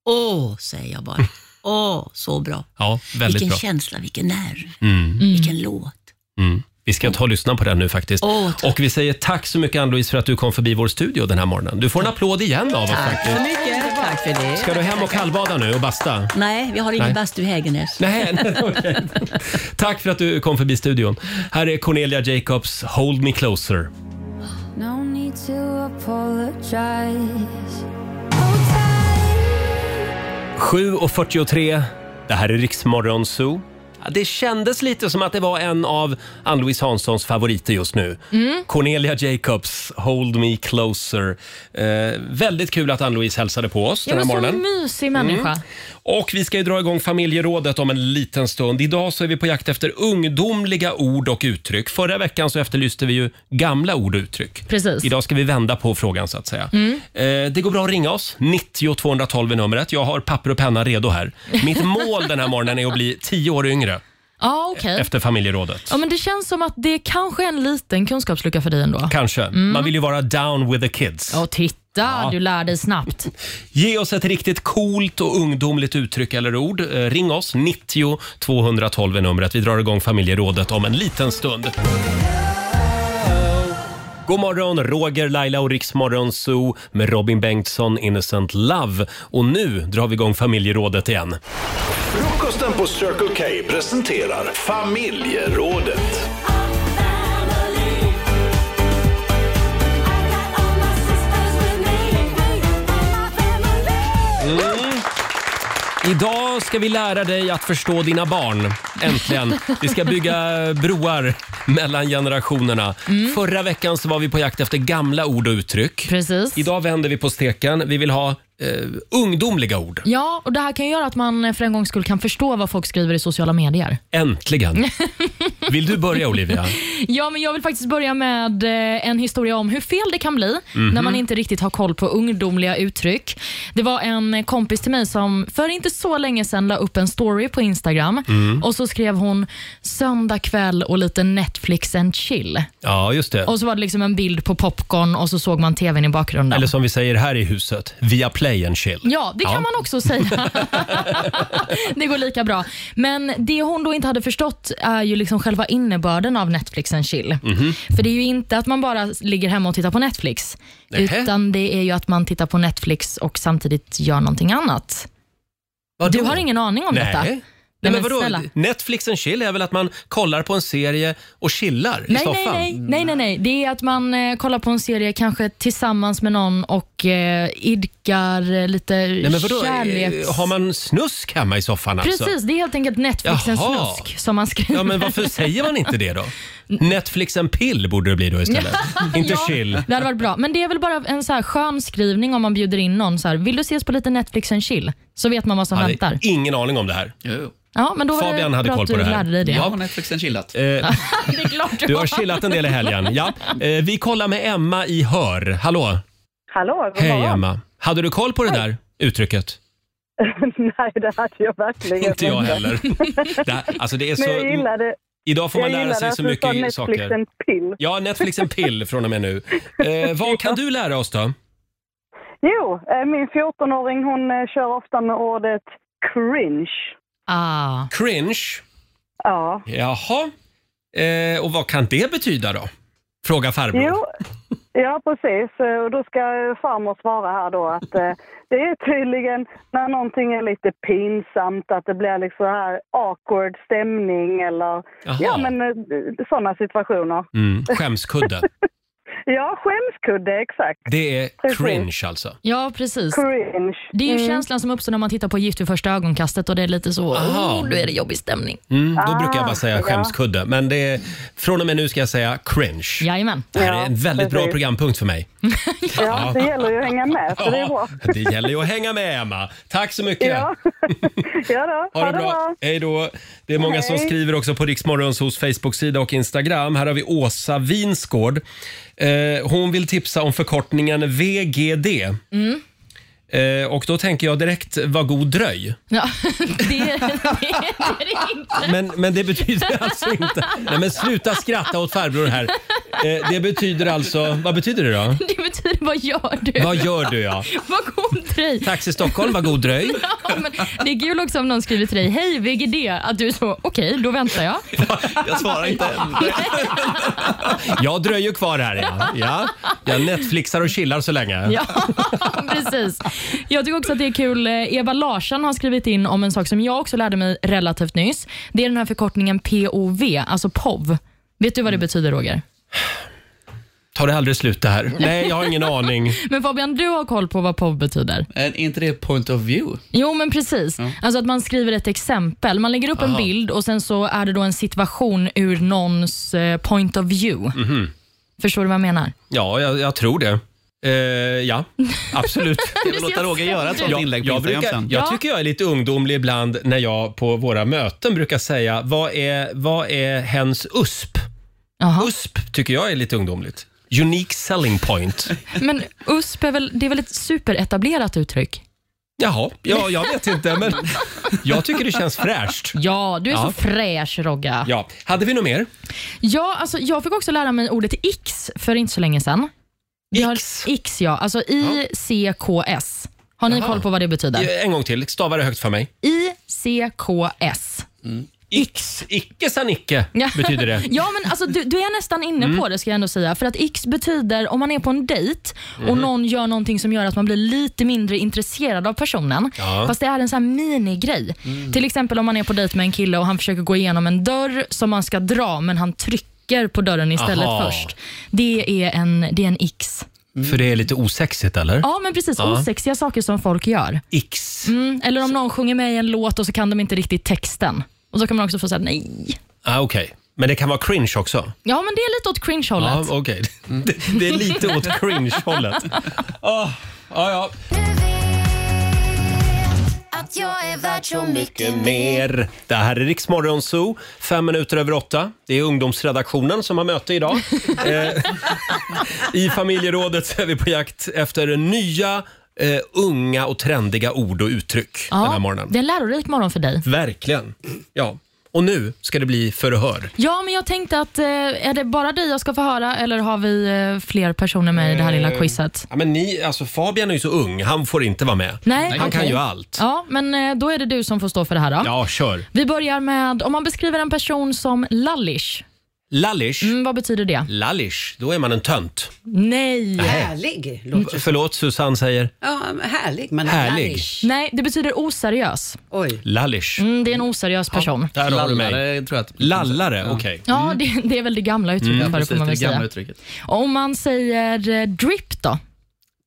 [SPEAKER 9] åh, säger jag bara. Åh, så bra.
[SPEAKER 1] Ja, väldigt
[SPEAKER 9] vilken
[SPEAKER 1] bra.
[SPEAKER 9] känsla, vilken nerv,
[SPEAKER 1] Mm.
[SPEAKER 9] vilken låt.
[SPEAKER 1] Mm. Vi ska ta och lyssna på den nu faktiskt.
[SPEAKER 9] Åh, tack.
[SPEAKER 1] och vi säger tack så mycket Ann-Louise för att du kom förbi vår studio den här morgonen. Du får en applåd igen av oss faktiskt.
[SPEAKER 9] mycket. Tack för det.
[SPEAKER 1] Ska du hem och kallbada nu och basta?
[SPEAKER 9] Nej, vi har
[SPEAKER 1] Nej.
[SPEAKER 9] ingen bastu i Hägernäs.
[SPEAKER 1] Nej, nej, okej. Tack för att du kom förbi studion. Här är Cornelia Jacobs Hold Me Closer.
[SPEAKER 8] No need to apologize.
[SPEAKER 1] 7.43, det här är Riksmorgon Zoo. Ja, Det kändes lite som att det var en av Ann-Louise Hanssons favoriter just nu. Cornelia Jacobs, Hold Me Closer. Eh, väldigt kul att Ann-Louise hälsade på oss
[SPEAKER 2] Jag
[SPEAKER 1] den
[SPEAKER 2] är
[SPEAKER 1] här
[SPEAKER 2] så
[SPEAKER 1] morgonen. Mm.
[SPEAKER 2] mysig människa.
[SPEAKER 1] Och vi ska ju dra igång familjerådet om en liten stund. Idag så är vi på jakt efter ungdomliga ord och uttryck. Förra veckan så efterlyste vi ju gamla ord och uttryck.
[SPEAKER 2] Precis.
[SPEAKER 1] Idag ska vi vända på frågan så att säga. Eh, det går bra att ringa oss. 90 212 är numret. Jag har papper och penna redo här. Mitt mål den här morgonen är att bli 10 år yngre
[SPEAKER 2] Ja, okej.
[SPEAKER 1] efter familjerådet.
[SPEAKER 2] Ja, men det känns som att det kanske är en liten kunskapslucka för dig ändå.
[SPEAKER 1] Kanske. Man vill ju vara down with the kids.
[SPEAKER 2] Ja, titta, du lär dig snabbt.
[SPEAKER 1] Ge oss ett riktigt coolt och ungdomligt uttryck eller ord. Eh, Ring oss, 90 212 är numret. Vi drar igång familjerådet om en liten stund. God morgon, Roger, Laila och Riksmorgon Zoo med Robin Bengtsson, Innocent Love. Och nu drar vi igång familjerådet igen.
[SPEAKER 7] Frukosten på Circle K presenterar familjerådet.
[SPEAKER 1] Mm. Idag ska vi lära dig att förstå dina barn. Äntligen. Vi ska bygga broar mellan generationerna. Förra veckan så var vi på jakt efter gamla ord och uttryck.
[SPEAKER 2] Precis.
[SPEAKER 1] Idag vänder vi på steken. Vi vill ha eh, ungdomliga ord.
[SPEAKER 2] Ja, och det här kan ju göra att man för en gångs skull kan förstå vad folk skriver i sociala medier.
[SPEAKER 1] Äntligen! Vill du börja Olivia?
[SPEAKER 2] Ja, men jag vill faktiskt börja med eh, en historia om hur fel det kan bli när man inte riktigt har koll på ungdomliga uttryck. Det var en eh, kompis till mig som för inte så länge sedan la upp en story på Instagram och så skrev hon “söndag kväll och lite Netflix and chill”.
[SPEAKER 1] Ja, just det.
[SPEAKER 2] Och så var det liksom en bild på popcorn och så såg man tvn i bakgrunden.
[SPEAKER 1] Eller som vi säger här i huset, via play and chill.
[SPEAKER 2] Ja, det kan
[SPEAKER 1] Ja.
[SPEAKER 2] man också säga. det går lika bra. Men det hon då inte hade förstått är ju liksom själva innebörden av Netflix and chill.
[SPEAKER 1] Mhm.
[SPEAKER 2] För det är ju inte att man bara ligger hemma och tittar på Netflix,
[SPEAKER 1] Nähä.
[SPEAKER 2] utan det är ju att man tittar på Netflix och samtidigt gör någonting annat.
[SPEAKER 1] Vadå?
[SPEAKER 2] Du har ingen aning om
[SPEAKER 1] Nej.
[SPEAKER 2] detta?
[SPEAKER 1] Nej,
[SPEAKER 2] Nej,
[SPEAKER 1] men
[SPEAKER 2] men
[SPEAKER 1] vadå?
[SPEAKER 2] snälla.
[SPEAKER 1] Netflix and chill är väl att man kollar på en serie och chillar i
[SPEAKER 2] Nej, nej,
[SPEAKER 1] soffan?
[SPEAKER 2] nej, nej, nej, nej. Det är att man eh, kollar på en serie kanske tillsammans med någon och eh, idkar eh, lite
[SPEAKER 1] Nej, men vadå? Eh,
[SPEAKER 2] kärleks...
[SPEAKER 1] Har man snusk hemma i soffan alltså?
[SPEAKER 2] Precis, det är helt enkelt Netflixens
[SPEAKER 1] Jaha.
[SPEAKER 2] snusk som man skriver.
[SPEAKER 1] Ja, men varför säger man inte det då? Netflix and pill borde det bli då istället. Inte chill.
[SPEAKER 2] Det hade varit bra. Men det är väl bara en så här skön skrivning om man bjuder in någon. Så här, Vill du ses på lite Netflix and chill? Så vet man vad som
[SPEAKER 1] Jag hade
[SPEAKER 2] väntar.
[SPEAKER 1] ingen aning om det här.
[SPEAKER 6] Jo.
[SPEAKER 2] Ja, men då var
[SPEAKER 1] Fabian
[SPEAKER 2] det
[SPEAKER 1] hade
[SPEAKER 2] bra
[SPEAKER 1] koll
[SPEAKER 2] att
[SPEAKER 1] på
[SPEAKER 2] du
[SPEAKER 1] det här.
[SPEAKER 2] lärde dig det.
[SPEAKER 6] Jag har Netflixen chillat.
[SPEAKER 1] Eh,
[SPEAKER 2] det är klart du,
[SPEAKER 1] du har chillat en del i helgen. Ja. Eh, vi kollar med Emma i Hör. Hallå!
[SPEAKER 10] Hallå, god
[SPEAKER 1] Hej
[SPEAKER 10] morgon.
[SPEAKER 1] Emma! Hade du koll på det där uttrycket?
[SPEAKER 10] Nej, det hade jag verkligen
[SPEAKER 1] Inte jag heller. Det, här- alltså det är
[SPEAKER 10] Men jag
[SPEAKER 1] så,
[SPEAKER 10] gillade,
[SPEAKER 1] idag får man
[SPEAKER 10] jag
[SPEAKER 1] lära
[SPEAKER 10] gillade
[SPEAKER 1] sig
[SPEAKER 10] att
[SPEAKER 1] så
[SPEAKER 10] du sa
[SPEAKER 1] mycket
[SPEAKER 10] Netflix
[SPEAKER 1] saker.
[SPEAKER 10] en pill.
[SPEAKER 1] Ja, Netflix en pill från och med nu. Eh, vad kan du lära oss då?
[SPEAKER 10] Jo, eh, min 14-åring hon eh, kör ofta med ordet cringe.
[SPEAKER 2] ah,
[SPEAKER 1] Cringe.
[SPEAKER 10] Ja.
[SPEAKER 1] Jaha. Eh, och vad kan det betyda då? Fråga farbror.
[SPEAKER 10] Jo, ja precis. Eh, Och då ska farmor svara här då att eh, det är tydligen när någonting är lite pinsamt, att det blir liksom här awkward stämning eller
[SPEAKER 1] Jaha.
[SPEAKER 10] ja men eh, sådana situationer.
[SPEAKER 1] Mm, skämskudde.
[SPEAKER 10] Ja, skämskudde, exakt.
[SPEAKER 1] Det är
[SPEAKER 10] Precis.
[SPEAKER 1] cringe alltså.
[SPEAKER 2] ja, precis.
[SPEAKER 10] Cringe.
[SPEAKER 2] Det är ju
[SPEAKER 10] Mm.
[SPEAKER 2] känslan som uppstår när man tittar på Gift vid första ögonkastet och det är lite så,
[SPEAKER 1] Aha.
[SPEAKER 2] oh, nu är det jobbig stämning.
[SPEAKER 1] Mm, då
[SPEAKER 10] Ah,
[SPEAKER 1] brukar jag bara säga
[SPEAKER 10] ja.
[SPEAKER 1] skämskudde. Men det är, från och med nu ska jag säga cringe.
[SPEAKER 2] Jajamän.
[SPEAKER 1] Det här är en väldigt bra
[SPEAKER 10] precis.
[SPEAKER 1] programpunkt för mig.
[SPEAKER 10] Ja, det gäller ju att hänga med, så det är bra.
[SPEAKER 1] det gäller ju att hänga med Emma. Tack så mycket.
[SPEAKER 10] Ja, ja då.
[SPEAKER 1] Ha det bra. Hej då. Det är många som
[SPEAKER 10] Hej.
[SPEAKER 1] skriver också på Riksmorgons hos Facebook-sida och Instagram. Här har vi Åsa Winsgård. Eh, hon vill tipsa om förkortningen VGD. Eh, och då tänker jag direkt, vad god dröj.
[SPEAKER 2] Ja, det, det, är det inte.
[SPEAKER 1] Men, men det betyder alltså inte... Nej men sluta skratta åt farbror här. Eh, det betyder alltså, vad betyder det då?
[SPEAKER 2] Det betyder, vad gör du?
[SPEAKER 1] Vad gör du ja?
[SPEAKER 2] Vad god dröj.
[SPEAKER 1] Taxi Stockholm, vad god dröj.
[SPEAKER 2] Ja, men det är kul också om någon skriver till dig, hej VGD, att du är så, okej, då väntar jag.
[SPEAKER 6] Jag svarar inte än.
[SPEAKER 1] Jag dröjer kvar här ja. ja. Jag Netflixar och chillar så länge.
[SPEAKER 2] Ja, precis. Jag tycker också att det är kul. eh, Eva Larsson har skrivit in om en sak som jag också lärde mig relativt nyss. Det är den här förkortningen POV, alltså POV. Vet du vad det betyder, Roger?
[SPEAKER 1] Tar det aldrig slut det här? Nej, jag har ingen aning.
[SPEAKER 2] Men Fabian, du har koll på vad POV betyder?
[SPEAKER 1] Eh,
[SPEAKER 6] Är inte det point of view?
[SPEAKER 2] Jo, men precis. Alltså att man skriver ett exempel. Man lägger upp en
[SPEAKER 6] Aha.
[SPEAKER 2] bild och sen så är det då en situation ur någons eh, point of view.
[SPEAKER 1] Mhm.
[SPEAKER 2] Förstår du vad jag menar?
[SPEAKER 1] Ja, jag, jag tror det. Eh, ja, absolut.
[SPEAKER 6] Jag vill låta Roger göra ett sånt
[SPEAKER 1] Jag,
[SPEAKER 6] inlägg på
[SPEAKER 1] jag,
[SPEAKER 6] Instagram
[SPEAKER 1] brukar,
[SPEAKER 6] sen.
[SPEAKER 1] jag tycker jag är lite ungdomlig ibland när jag på våra möten brukar säga vad är, vad är hens USP? USP tycker jag är lite ungdomligt. Unique selling point.
[SPEAKER 2] Men USP är väl, det är väl ett superetablerat uttryck?
[SPEAKER 1] Jaha, ja, jag vet inte men jag tycker det känns fräscht.
[SPEAKER 2] Ja, du är
[SPEAKER 1] Ja.
[SPEAKER 2] så fräsch Rogga.
[SPEAKER 1] Ja, hade vi något mer?
[SPEAKER 2] Ja, alltså, jag fick också lära mig ordet X för inte så länge sedan. Vi har X, ja. Alltså ICKS. Har ni
[SPEAKER 1] Jaha.
[SPEAKER 2] koll på vad det betyder?
[SPEAKER 1] Eh, En gång till, stava det högt för mig.
[SPEAKER 2] ICKS.
[SPEAKER 1] X, icke san icke
[SPEAKER 2] Ja.
[SPEAKER 1] betyder det.
[SPEAKER 2] ja, men alltså, du, du är nästan inne
[SPEAKER 1] Mm.
[SPEAKER 2] på det ska jag ändå säga. För att X betyder om man är på en dejt och
[SPEAKER 1] Mm.
[SPEAKER 2] någon gör någonting som gör att man blir lite mindre intresserad av personen.
[SPEAKER 8] Ja.
[SPEAKER 2] Fast det är en sån här minigrej.
[SPEAKER 1] Mm.
[SPEAKER 2] Till exempel om man är på dejt med en kille och han försöker gå igenom en dörr som man ska dra men han trycker på dörren istället
[SPEAKER 1] Aha.
[SPEAKER 2] först. Det är en, det är en X.
[SPEAKER 1] För det är lite osexigt eller?
[SPEAKER 2] Mm. Ja, men precis.
[SPEAKER 1] Ja.
[SPEAKER 2] Osexiga saker som folk gör.
[SPEAKER 1] X.
[SPEAKER 2] Mm, eller om någon sjunger med i en låt och så kan de inte riktigt texten. Och så kan man också få säga nej.
[SPEAKER 1] Ah, Okej, men det kan vara cringe också?
[SPEAKER 2] Ja, men det är lite åt
[SPEAKER 1] Ja,
[SPEAKER 2] cringe-hållet.
[SPEAKER 1] okej.
[SPEAKER 2] Mm.
[SPEAKER 1] Det, det är lite åt cringe-hållet. Oh, ja, ja.
[SPEAKER 8] Att jag är värd så
[SPEAKER 1] Mycket mer. Det här är Riksmorgon Zoo, fem minuter över åtta. Det är ungdomsredaktionen som har möte idag. eh, I familjerådet så är vi på jakt efter nya eh, unga och trendiga ord och uttryck den här morgonen.
[SPEAKER 2] det är en lärorik morgon för dig.
[SPEAKER 1] Verkligen. Ja. Och nu ska det bli förhör.
[SPEAKER 2] Ja, men jag tänkte att eh, är det bara dig jag ska få höra eller har vi eh, fler personer med i det här lilla
[SPEAKER 1] Eh,
[SPEAKER 2] quizet?
[SPEAKER 1] Ja, men ni, alltså Fabian är ju så ung, han får inte vara med.
[SPEAKER 2] Nej,
[SPEAKER 1] han kan
[SPEAKER 2] okej.
[SPEAKER 1] ju allt.
[SPEAKER 2] Ja, men eh, då är det du som får stå för det här då.
[SPEAKER 1] Ja, kör.
[SPEAKER 2] Vi börjar med, om man beskriver en person som lallish,
[SPEAKER 1] Lallish.
[SPEAKER 2] mm, vad betyder det?
[SPEAKER 1] Lallish, då är man en tönt.
[SPEAKER 2] Nej.
[SPEAKER 1] Nej.
[SPEAKER 9] Härlig låter det som.
[SPEAKER 1] Förlåt, Susanne säger
[SPEAKER 9] Ja, härlig. Men
[SPEAKER 1] Härlig.
[SPEAKER 9] lallish.
[SPEAKER 2] Nej, det betyder oseriös.
[SPEAKER 9] Oj.
[SPEAKER 1] lallish.
[SPEAKER 2] Mm, det är en oseriös person.
[SPEAKER 1] Där har du mig. Lallare, okej.
[SPEAKER 2] Ja, det, det är väl det gamla
[SPEAKER 1] Mm,
[SPEAKER 2] uttrycket för det får man väl säga.
[SPEAKER 1] uttrycket.
[SPEAKER 2] Om man säger eh, drip då?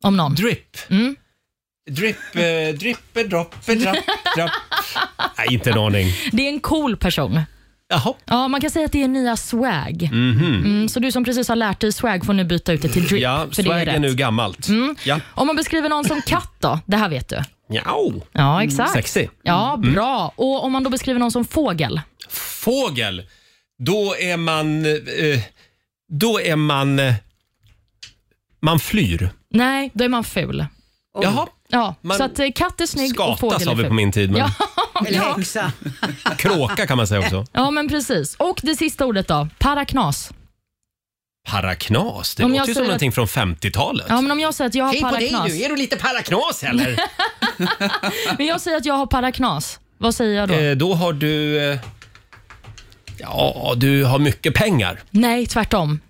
[SPEAKER 2] Om någon.
[SPEAKER 1] Drip?
[SPEAKER 2] Mm.
[SPEAKER 1] Drip, eh, drippe, droppe, drapp, drapp. Nej, inte en aning.
[SPEAKER 2] Det är en cool person.
[SPEAKER 1] Jaha.
[SPEAKER 2] Ja, man kan säga att det är nya swag.
[SPEAKER 1] Mhm.
[SPEAKER 2] Mm, så du som precis har lärt dig swag får nu byta ut det till drip.
[SPEAKER 1] Ja,
[SPEAKER 2] för det är
[SPEAKER 1] swag är
[SPEAKER 2] rätt. Mm.
[SPEAKER 1] nu gammalt. Ja.
[SPEAKER 2] Om man beskriver någon som katt då? Det här vet du.
[SPEAKER 1] Njau.
[SPEAKER 2] Ja, exakt.
[SPEAKER 1] Mm, Sexy.
[SPEAKER 2] Ja,
[SPEAKER 1] Mm.
[SPEAKER 2] bra. Och om man då beskriver någon som fågel?
[SPEAKER 1] Fågel, då är man... Eh, då är man... eh, Man flyr.
[SPEAKER 2] Nej, då är man ful.
[SPEAKER 1] Jaha.
[SPEAKER 2] Ja,
[SPEAKER 1] Man-
[SPEAKER 2] så att eh, katt är snygg och
[SPEAKER 1] Skata
[SPEAKER 2] fågel
[SPEAKER 1] sa
[SPEAKER 2] är
[SPEAKER 1] vi
[SPEAKER 2] ful.
[SPEAKER 1] på min tid, men
[SPEAKER 2] Ja,
[SPEAKER 9] Eller häxa.
[SPEAKER 1] kråka kan man säga också.
[SPEAKER 2] ja, men precis. Och det sista ordet då? Paraknas.
[SPEAKER 1] Paraknas, det
[SPEAKER 2] Om jag
[SPEAKER 1] låter ju som
[SPEAKER 2] säger
[SPEAKER 1] någonting från 50-talet.
[SPEAKER 2] Ja, men om jag säger att jag har
[SPEAKER 1] Hej på dig
[SPEAKER 2] paraknas.
[SPEAKER 1] nu, är du lite paraknas eller?
[SPEAKER 2] men jag säger att jag har paraknas. Vad säger jag då?
[SPEAKER 1] Eh, då har du... Eh, ja, du har mycket pengar. Eh,
[SPEAKER 2] Nej, tvärtom.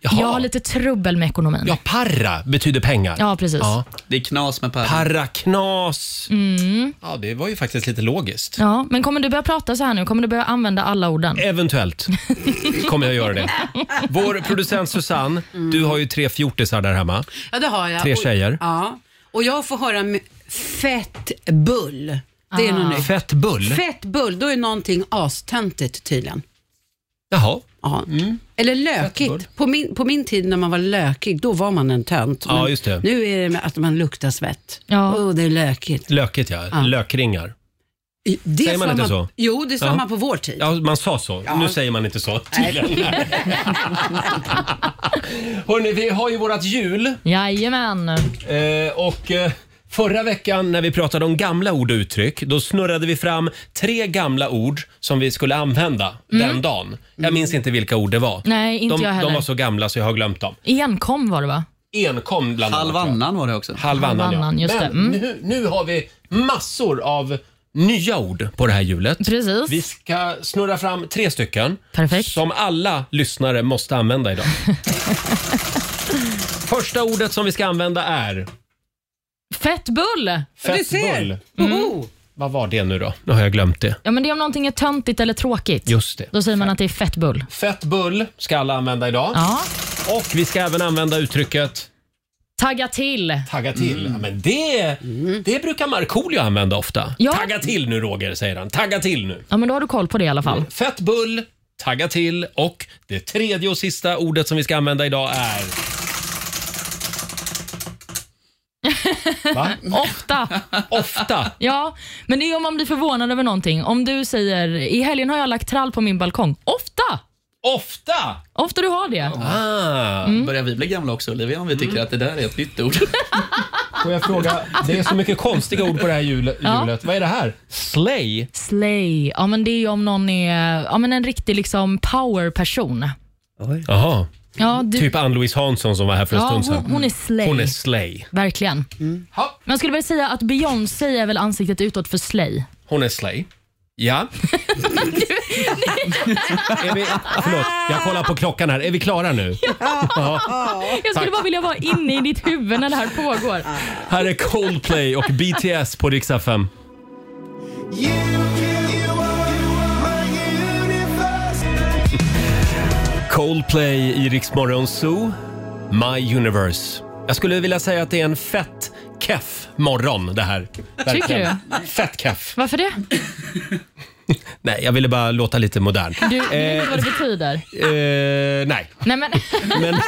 [SPEAKER 2] Jag har lite trubbel med ekonomin.
[SPEAKER 1] Ja, Parra betyder pengar.
[SPEAKER 2] Ja, precis.
[SPEAKER 1] Det är knas med parra. Paraknas.
[SPEAKER 2] Mm.
[SPEAKER 1] Ja, det var ju faktiskt lite logiskt.
[SPEAKER 2] Ja, men kommer du börja prata så här nu? Kommer du börja använda alla
[SPEAKER 1] Eh.
[SPEAKER 2] orden?
[SPEAKER 1] Eventuellt kommer jag göra det. Vår producent Susanne,
[SPEAKER 2] Mm.
[SPEAKER 1] du har ju tre fjortisar där hemma.
[SPEAKER 11] Ja, det har jag.
[SPEAKER 1] Tre
[SPEAKER 11] Och-
[SPEAKER 1] tjejer.
[SPEAKER 11] Ja, och jag får höra m- fett bull. Det är
[SPEAKER 1] Ah.
[SPEAKER 2] Mm.
[SPEAKER 11] något nytt.
[SPEAKER 1] Fett bull?
[SPEAKER 11] Fett bull, då är någonting astöntigt tydligen.
[SPEAKER 1] Jaha.
[SPEAKER 11] Ja.
[SPEAKER 1] Mm.
[SPEAKER 11] Eller lökigt. På min, på min tid när man var lökig, då var man en tönt.
[SPEAKER 1] Ja,
[SPEAKER 11] Men
[SPEAKER 1] just det.
[SPEAKER 11] Nu är det med att man luktar svett. Ja. det är lökigt.
[SPEAKER 1] Lökigt ja,
[SPEAKER 11] Ja.
[SPEAKER 1] lökringar.
[SPEAKER 11] Det sa
[SPEAKER 1] Säger man inte så?
[SPEAKER 11] Jo, det sa
[SPEAKER 1] Ja.
[SPEAKER 11] man på vår tid.
[SPEAKER 1] Ja, man sa så.
[SPEAKER 11] Ja.
[SPEAKER 1] Nu säger man inte så tydligen. Hörni, vi har ju vårat jul
[SPEAKER 2] Jajamän.
[SPEAKER 1] eh, och eh, Förra veckan när vi pratade om gamla ord och uttryck, då snurrade vi fram tre gamla ord som vi skulle använda
[SPEAKER 2] Mm.
[SPEAKER 1] den dagen. Jag minns inte vilka ord det var.
[SPEAKER 2] Nej, inte
[SPEAKER 1] de,
[SPEAKER 2] jag heller.
[SPEAKER 1] De var så gamla så jag har glömt dem.
[SPEAKER 2] Enkom var det va?
[SPEAKER 1] Enkom bland annat.
[SPEAKER 6] Halvannan var det också.
[SPEAKER 1] Halvannan,
[SPEAKER 2] Halvannan,
[SPEAKER 1] ja.
[SPEAKER 2] just
[SPEAKER 1] Men
[SPEAKER 2] det. Mm.
[SPEAKER 1] nu, nu har vi massor av nya ord på det här hjulet.
[SPEAKER 2] Precis.
[SPEAKER 1] Vi ska snurra fram tre stycken som alla lyssnare måste använda idag. Första ordet som vi ska använda är
[SPEAKER 2] Fettbull!
[SPEAKER 1] fettbull.
[SPEAKER 2] Mm.
[SPEAKER 1] Vad var det nu då? Nu har jag glömt det.
[SPEAKER 2] Ja, men det är om någonting är töntigt eller tråkigt.
[SPEAKER 1] Just det.
[SPEAKER 2] Då säger man att det är fettbull.
[SPEAKER 1] Fettbull ska alla använda idag.
[SPEAKER 2] Ja.
[SPEAKER 1] Och vi ska även använda uttrycket
[SPEAKER 2] Tagga till.
[SPEAKER 1] tagga till.
[SPEAKER 2] Mm.
[SPEAKER 1] Ja, men det, det brukar Markoolio använda ofta. Tagga till nu Roger, säger han. Tagga till nu.
[SPEAKER 2] Ja, men då har du koll på det i alla fall.
[SPEAKER 1] Fett bull, tagga till och det tredje och sista ordet som vi ska använda idag är... Va?
[SPEAKER 2] Ofta.
[SPEAKER 1] Ofta?
[SPEAKER 2] Ja, men det är om man blir förvånad över någonting. Om du säger i helgen har jag lagt trall på min balkong. Ofta!
[SPEAKER 1] Ofta!
[SPEAKER 2] Ofta du har det.
[SPEAKER 1] Ah,
[SPEAKER 2] Mm.
[SPEAKER 6] Börjar vi bli gamla också Olivia om vi tycker att det där är ett nytt ord?
[SPEAKER 1] Får jag fråga, det är så mycket konstiga ord på det här hjulet.
[SPEAKER 2] Ja.
[SPEAKER 1] hjulet. Vad är det här? Slay?
[SPEAKER 2] Slay. Ja, men det är ju om någon är ja, men en riktig liksom powerperson.
[SPEAKER 1] Jaha.
[SPEAKER 2] Ja, du-
[SPEAKER 1] Typ Ann-Louise Hansson som var här för en
[SPEAKER 2] Ja,
[SPEAKER 1] stund sedan.
[SPEAKER 2] hon- hon är slay.
[SPEAKER 1] Hon är slay.
[SPEAKER 2] Verkligen.
[SPEAKER 1] Mm.
[SPEAKER 2] Men jag skulle väl säga att Beyoncé är väl ansiktet utåt för Slay.
[SPEAKER 1] Hon är slay. Ja. är vi, förlåt, jag kollar på klockan här. Är vi klara nu? Ja.
[SPEAKER 2] Jag skulle
[SPEAKER 1] Tack.
[SPEAKER 2] bara vilja vara inne i ditt huvud när det här pågår.
[SPEAKER 1] Här är Coldplay och BTS på riksdag 5. Coldplay i Rix Morgon Zoo, My Universe. Jag skulle vilja säga att det är en fett keff morgon det här. Verkligen. Fett keff.
[SPEAKER 2] Varför det?
[SPEAKER 1] Nej, jag ville bara låta lite modern.
[SPEAKER 2] Du, du vet
[SPEAKER 1] Eh,
[SPEAKER 2] inte vad det betyder.
[SPEAKER 1] eh, nej.
[SPEAKER 2] Nej, men...
[SPEAKER 1] Men-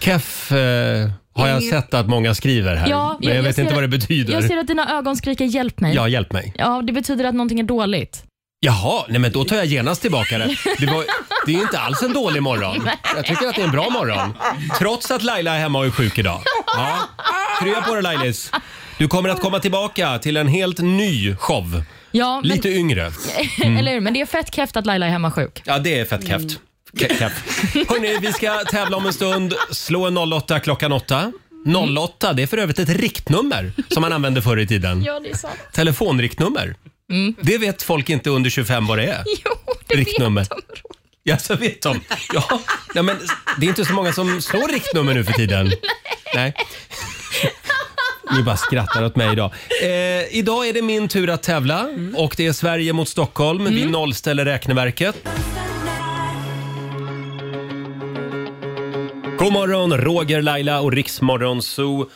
[SPEAKER 1] Keff eh, har jag
[SPEAKER 2] Ingen-
[SPEAKER 1] sett att många skriver här.
[SPEAKER 2] Ja,
[SPEAKER 1] men jag, vet
[SPEAKER 2] ser
[SPEAKER 1] inte vad det betyder.
[SPEAKER 2] Jag ser att dina ögon skriker hjälp mig.
[SPEAKER 1] Ja, hjälp mig.
[SPEAKER 2] Ja, det betyder att någonting är dåligt.
[SPEAKER 1] Jaha, nej men då tar jag genast tillbaka det. Det, var, det är inte alls en dålig morgon. Jag tycker att det är en bra morgon. Trots att Laila är hemma och är sjuk idag. Ja. Krya på dig Lailis. Du kommer att komma tillbaka till en helt ny show.
[SPEAKER 2] Ja, men...
[SPEAKER 1] Lite yngre. Mm.
[SPEAKER 2] Eller hur? Men det är fett kräft att Laila är hemma sjuk.
[SPEAKER 1] Ja, det är fett keft. Hörni, vi ska tävla om en stund. Slå en 08 klockan 8. 08, det är för övrigt ett riktnummer som man använde förr i tiden.
[SPEAKER 2] det är sant.
[SPEAKER 1] Telefonriktnummer.
[SPEAKER 2] Mm.
[SPEAKER 1] Det vet folk inte under 25 vad det är.
[SPEAKER 2] Jo,
[SPEAKER 1] det riktnummer. vet de. Ja, så vet de. Ja, nej, men det är inte så många som slår riktnummer nu för tiden. Nej. Ni bara skrattar åt mig idag. Eh, idag är det min tur att tävla och det är Sverige mot Stockholm. Vi nollställer räkneverket. God morgon, Roger, Laila och Riksmorgon Zoo.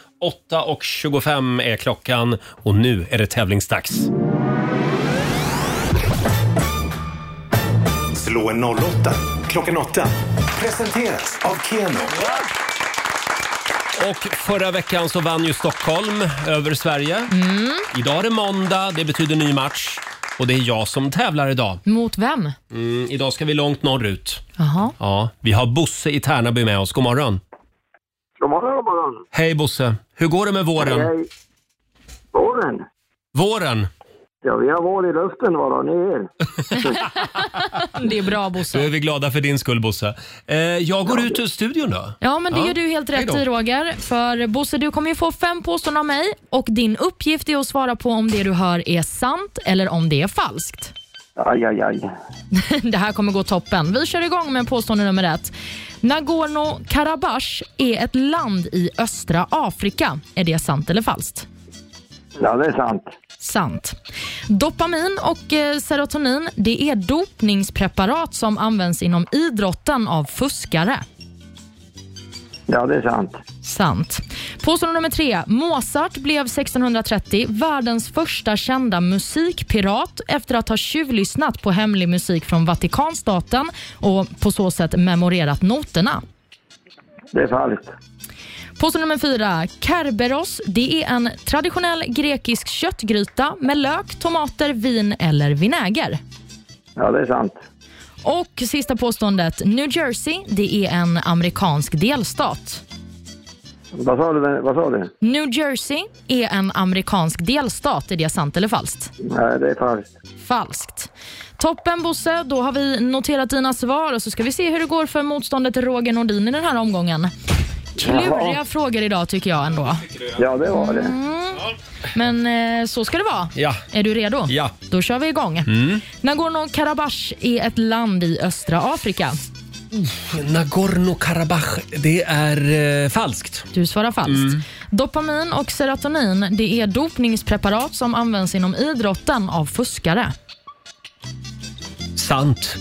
[SPEAKER 1] 8.25 är klockan och nu är det tävlingsdags.
[SPEAKER 7] Slå en 08 klockan 8. Presenteras av Keno.
[SPEAKER 1] Och förra veckan så vann ju Stockholm över Sverige. Idag är det måndag, det betyder ny match. Och det är jag som tävlar idag.
[SPEAKER 2] Mot vem?
[SPEAKER 1] Mm, idag ska vi långt norrut.
[SPEAKER 2] Jaha.
[SPEAKER 1] Ja, vi har Bosse i Tärnaby med oss. God morgon.
[SPEAKER 12] God morgon, god morgon.
[SPEAKER 1] Hej Bosse, hur går det med våren?
[SPEAKER 12] Hej. Våren?
[SPEAKER 1] Våren?
[SPEAKER 12] Ja, vi har vår i luften vad har ni er?
[SPEAKER 2] Det är bra Bosse.
[SPEAKER 1] Då är vi glada för din skull Bosse. Eh, jag går ut ur studion då.
[SPEAKER 2] Ja, men det gör du helt
[SPEAKER 1] Hej
[SPEAKER 2] rätt
[SPEAKER 1] då.
[SPEAKER 2] i Roger. För Bosse, du kommer ju få fem påståenden av mig och din uppgift är att svara på om det du hör är sant eller om det är falskt.
[SPEAKER 12] Aj, aj, aj.
[SPEAKER 2] Det här kommer gå toppen. Vi kör igång med påstående nummer ett. Nagorno-Karabach är ett land i östra Afrika. Är det sant eller falskt?
[SPEAKER 12] Ja, det är sant.
[SPEAKER 2] Sant. Dopamin och eh, serotonin det är dopningspreparat som används inom idrotten av fuskare.
[SPEAKER 12] Ja, det är sant.
[SPEAKER 2] Sant. Påstående nummer tre. Mozart blev 1630 världens första kända musikpirat efter att ha tjuvlyssnat på hemlig musik från Vatikanstaten och på så sätt memorerat noterna.
[SPEAKER 12] Det är falskt.
[SPEAKER 2] Påstående nummer fyra. Kerberos det är en traditionell grekisk köttgryta med lök, tomater, vin eller vinäger.
[SPEAKER 12] Ja, det är sant.
[SPEAKER 2] Och sista påståendet. New Jersey det är en amerikansk delstat.
[SPEAKER 12] Vad sa du? Vad sa du?
[SPEAKER 2] New Jersey är en amerikansk delstat. Är det sant eller falskt?
[SPEAKER 12] Nej, det är falskt.
[SPEAKER 2] Falskt. Toppen Bosse, då har vi noterat dina svar och så ska vi se hur det går för motståndet Roger Nordin i den här omgången. Kluriga
[SPEAKER 12] Jaha.
[SPEAKER 2] frågor idag tycker jag ändå. Mm.
[SPEAKER 12] Ja, det var det.
[SPEAKER 2] Men eh, så ska det vara.
[SPEAKER 1] Ja.
[SPEAKER 2] Är du redo?
[SPEAKER 1] Ja.
[SPEAKER 2] Då kör vi igång.
[SPEAKER 1] Mm.
[SPEAKER 2] Nagorno-Karabach är ett land i östra Afrika.
[SPEAKER 1] Nagorno-Karabach, det är eh, falskt.
[SPEAKER 2] Du svarar falskt.
[SPEAKER 1] Mm.
[SPEAKER 2] Dopamin och serotonin det är dopningspreparat som används inom idrotten av fuskare.
[SPEAKER 1] Sant.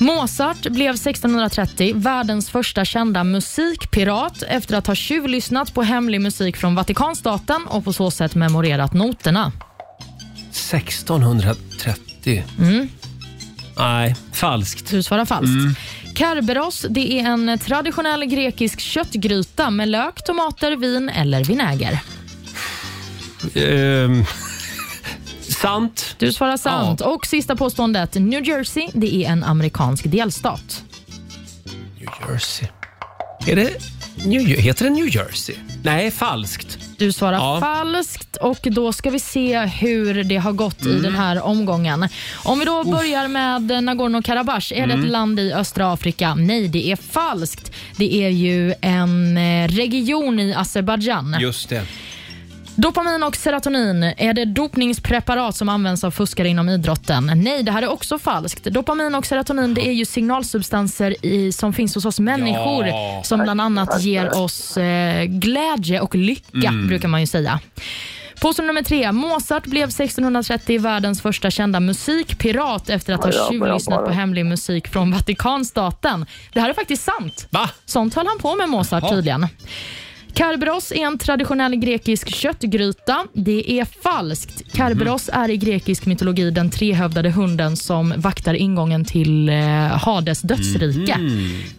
[SPEAKER 2] Mozart blev 1630 världens första kända musikpirat efter att ha tjuvlyssnat på hemlig musik från Vatikanstaten och på så sätt memorerat noterna.
[SPEAKER 1] 1630.
[SPEAKER 2] Mm.
[SPEAKER 1] Nej, falskt.
[SPEAKER 2] Du svarar falskt. Kerberos det är en traditionell grekisk köttgryta med lök, tomater, vin eller vinäger.
[SPEAKER 1] Ehm, sant.
[SPEAKER 2] Du svarar sant. Och sista påståendet. New Jersey det är en amerikansk delstat.
[SPEAKER 1] New Jersey. Är det New, heter det New Jersey? Nej, falskt.
[SPEAKER 2] Du svarar
[SPEAKER 1] Ja.
[SPEAKER 2] falskt och då ska vi se hur det har gått i
[SPEAKER 1] Mm.
[SPEAKER 2] den här omgången. Om vi då börjar med Nagorno-Karabach. Är det
[SPEAKER 13] Mm.
[SPEAKER 2] ett land i östra Afrika? Nej, det är falskt. Det är ju en eh, region i Azerbajdzjan.
[SPEAKER 1] Just det.
[SPEAKER 2] Dopamin och serotonin, är det dopningspreparat som används av fuskare inom idrotten? Nej, det här är också falskt. Dopamin och serotonin det är ju signalsubstanser i, som finns hos oss människor
[SPEAKER 13] Ja.
[SPEAKER 2] som bland annat ger oss eh, glädje och lycka,
[SPEAKER 13] Mm.
[SPEAKER 2] brukar man ju säga. Påstående nummer tre. Mozart blev 1630 världens första kända musikpirat efter att ha
[SPEAKER 13] Ja, ja,
[SPEAKER 2] tjuvlyssnat
[SPEAKER 13] bara.
[SPEAKER 2] på hemlig musik från Vatikanstaten. Det här är faktiskt sant.
[SPEAKER 1] Va?
[SPEAKER 2] Sånt höll han på med, Mozart,
[SPEAKER 13] Jaha.
[SPEAKER 2] tydligen. Kerberos är en traditionell grekisk köttgryta. Det är falskt. Kerberos
[SPEAKER 1] Mhm.
[SPEAKER 2] är i grekisk mytologi den trehövdade hunden som vaktar ingången till eh, Hades dödsrike.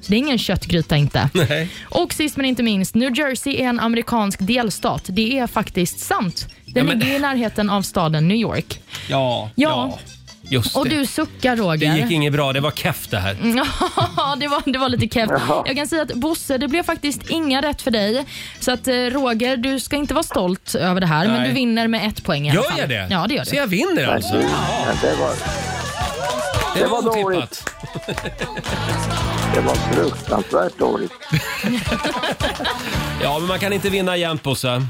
[SPEAKER 2] Så det är ingen köttgryta inte.
[SPEAKER 1] Mhm. Nej.
[SPEAKER 2] Och sist men inte minst, New Jersey är en amerikansk delstat. Det är faktiskt sant. Den
[SPEAKER 1] Ja, men-
[SPEAKER 2] ligger i närheten av staden New York.
[SPEAKER 1] Ja,
[SPEAKER 2] Ja,
[SPEAKER 1] just
[SPEAKER 2] och
[SPEAKER 1] det.
[SPEAKER 2] du suckar Roger.
[SPEAKER 1] Det gick inget bra. Det var keff det här.
[SPEAKER 2] Ja, det var, det var lite keft.
[SPEAKER 1] Jaha.
[SPEAKER 2] Jag kan säga att Bosse, det blev faktiskt inga rätt för dig. Så att eh, Roger, du ska inte vara stolt över det här, men
[SPEAKER 1] Nej.
[SPEAKER 2] du vinner med ett poäng i alla
[SPEAKER 1] Gör
[SPEAKER 2] fall.
[SPEAKER 1] jag det?
[SPEAKER 2] Ja, det gör du.
[SPEAKER 1] Så jag vinner alltså? Ja.
[SPEAKER 12] Det var,
[SPEAKER 1] Det var otippat.
[SPEAKER 12] det var fruktansvärt dåligt.
[SPEAKER 1] Ja, men man kan inte vinna jämt Bosse.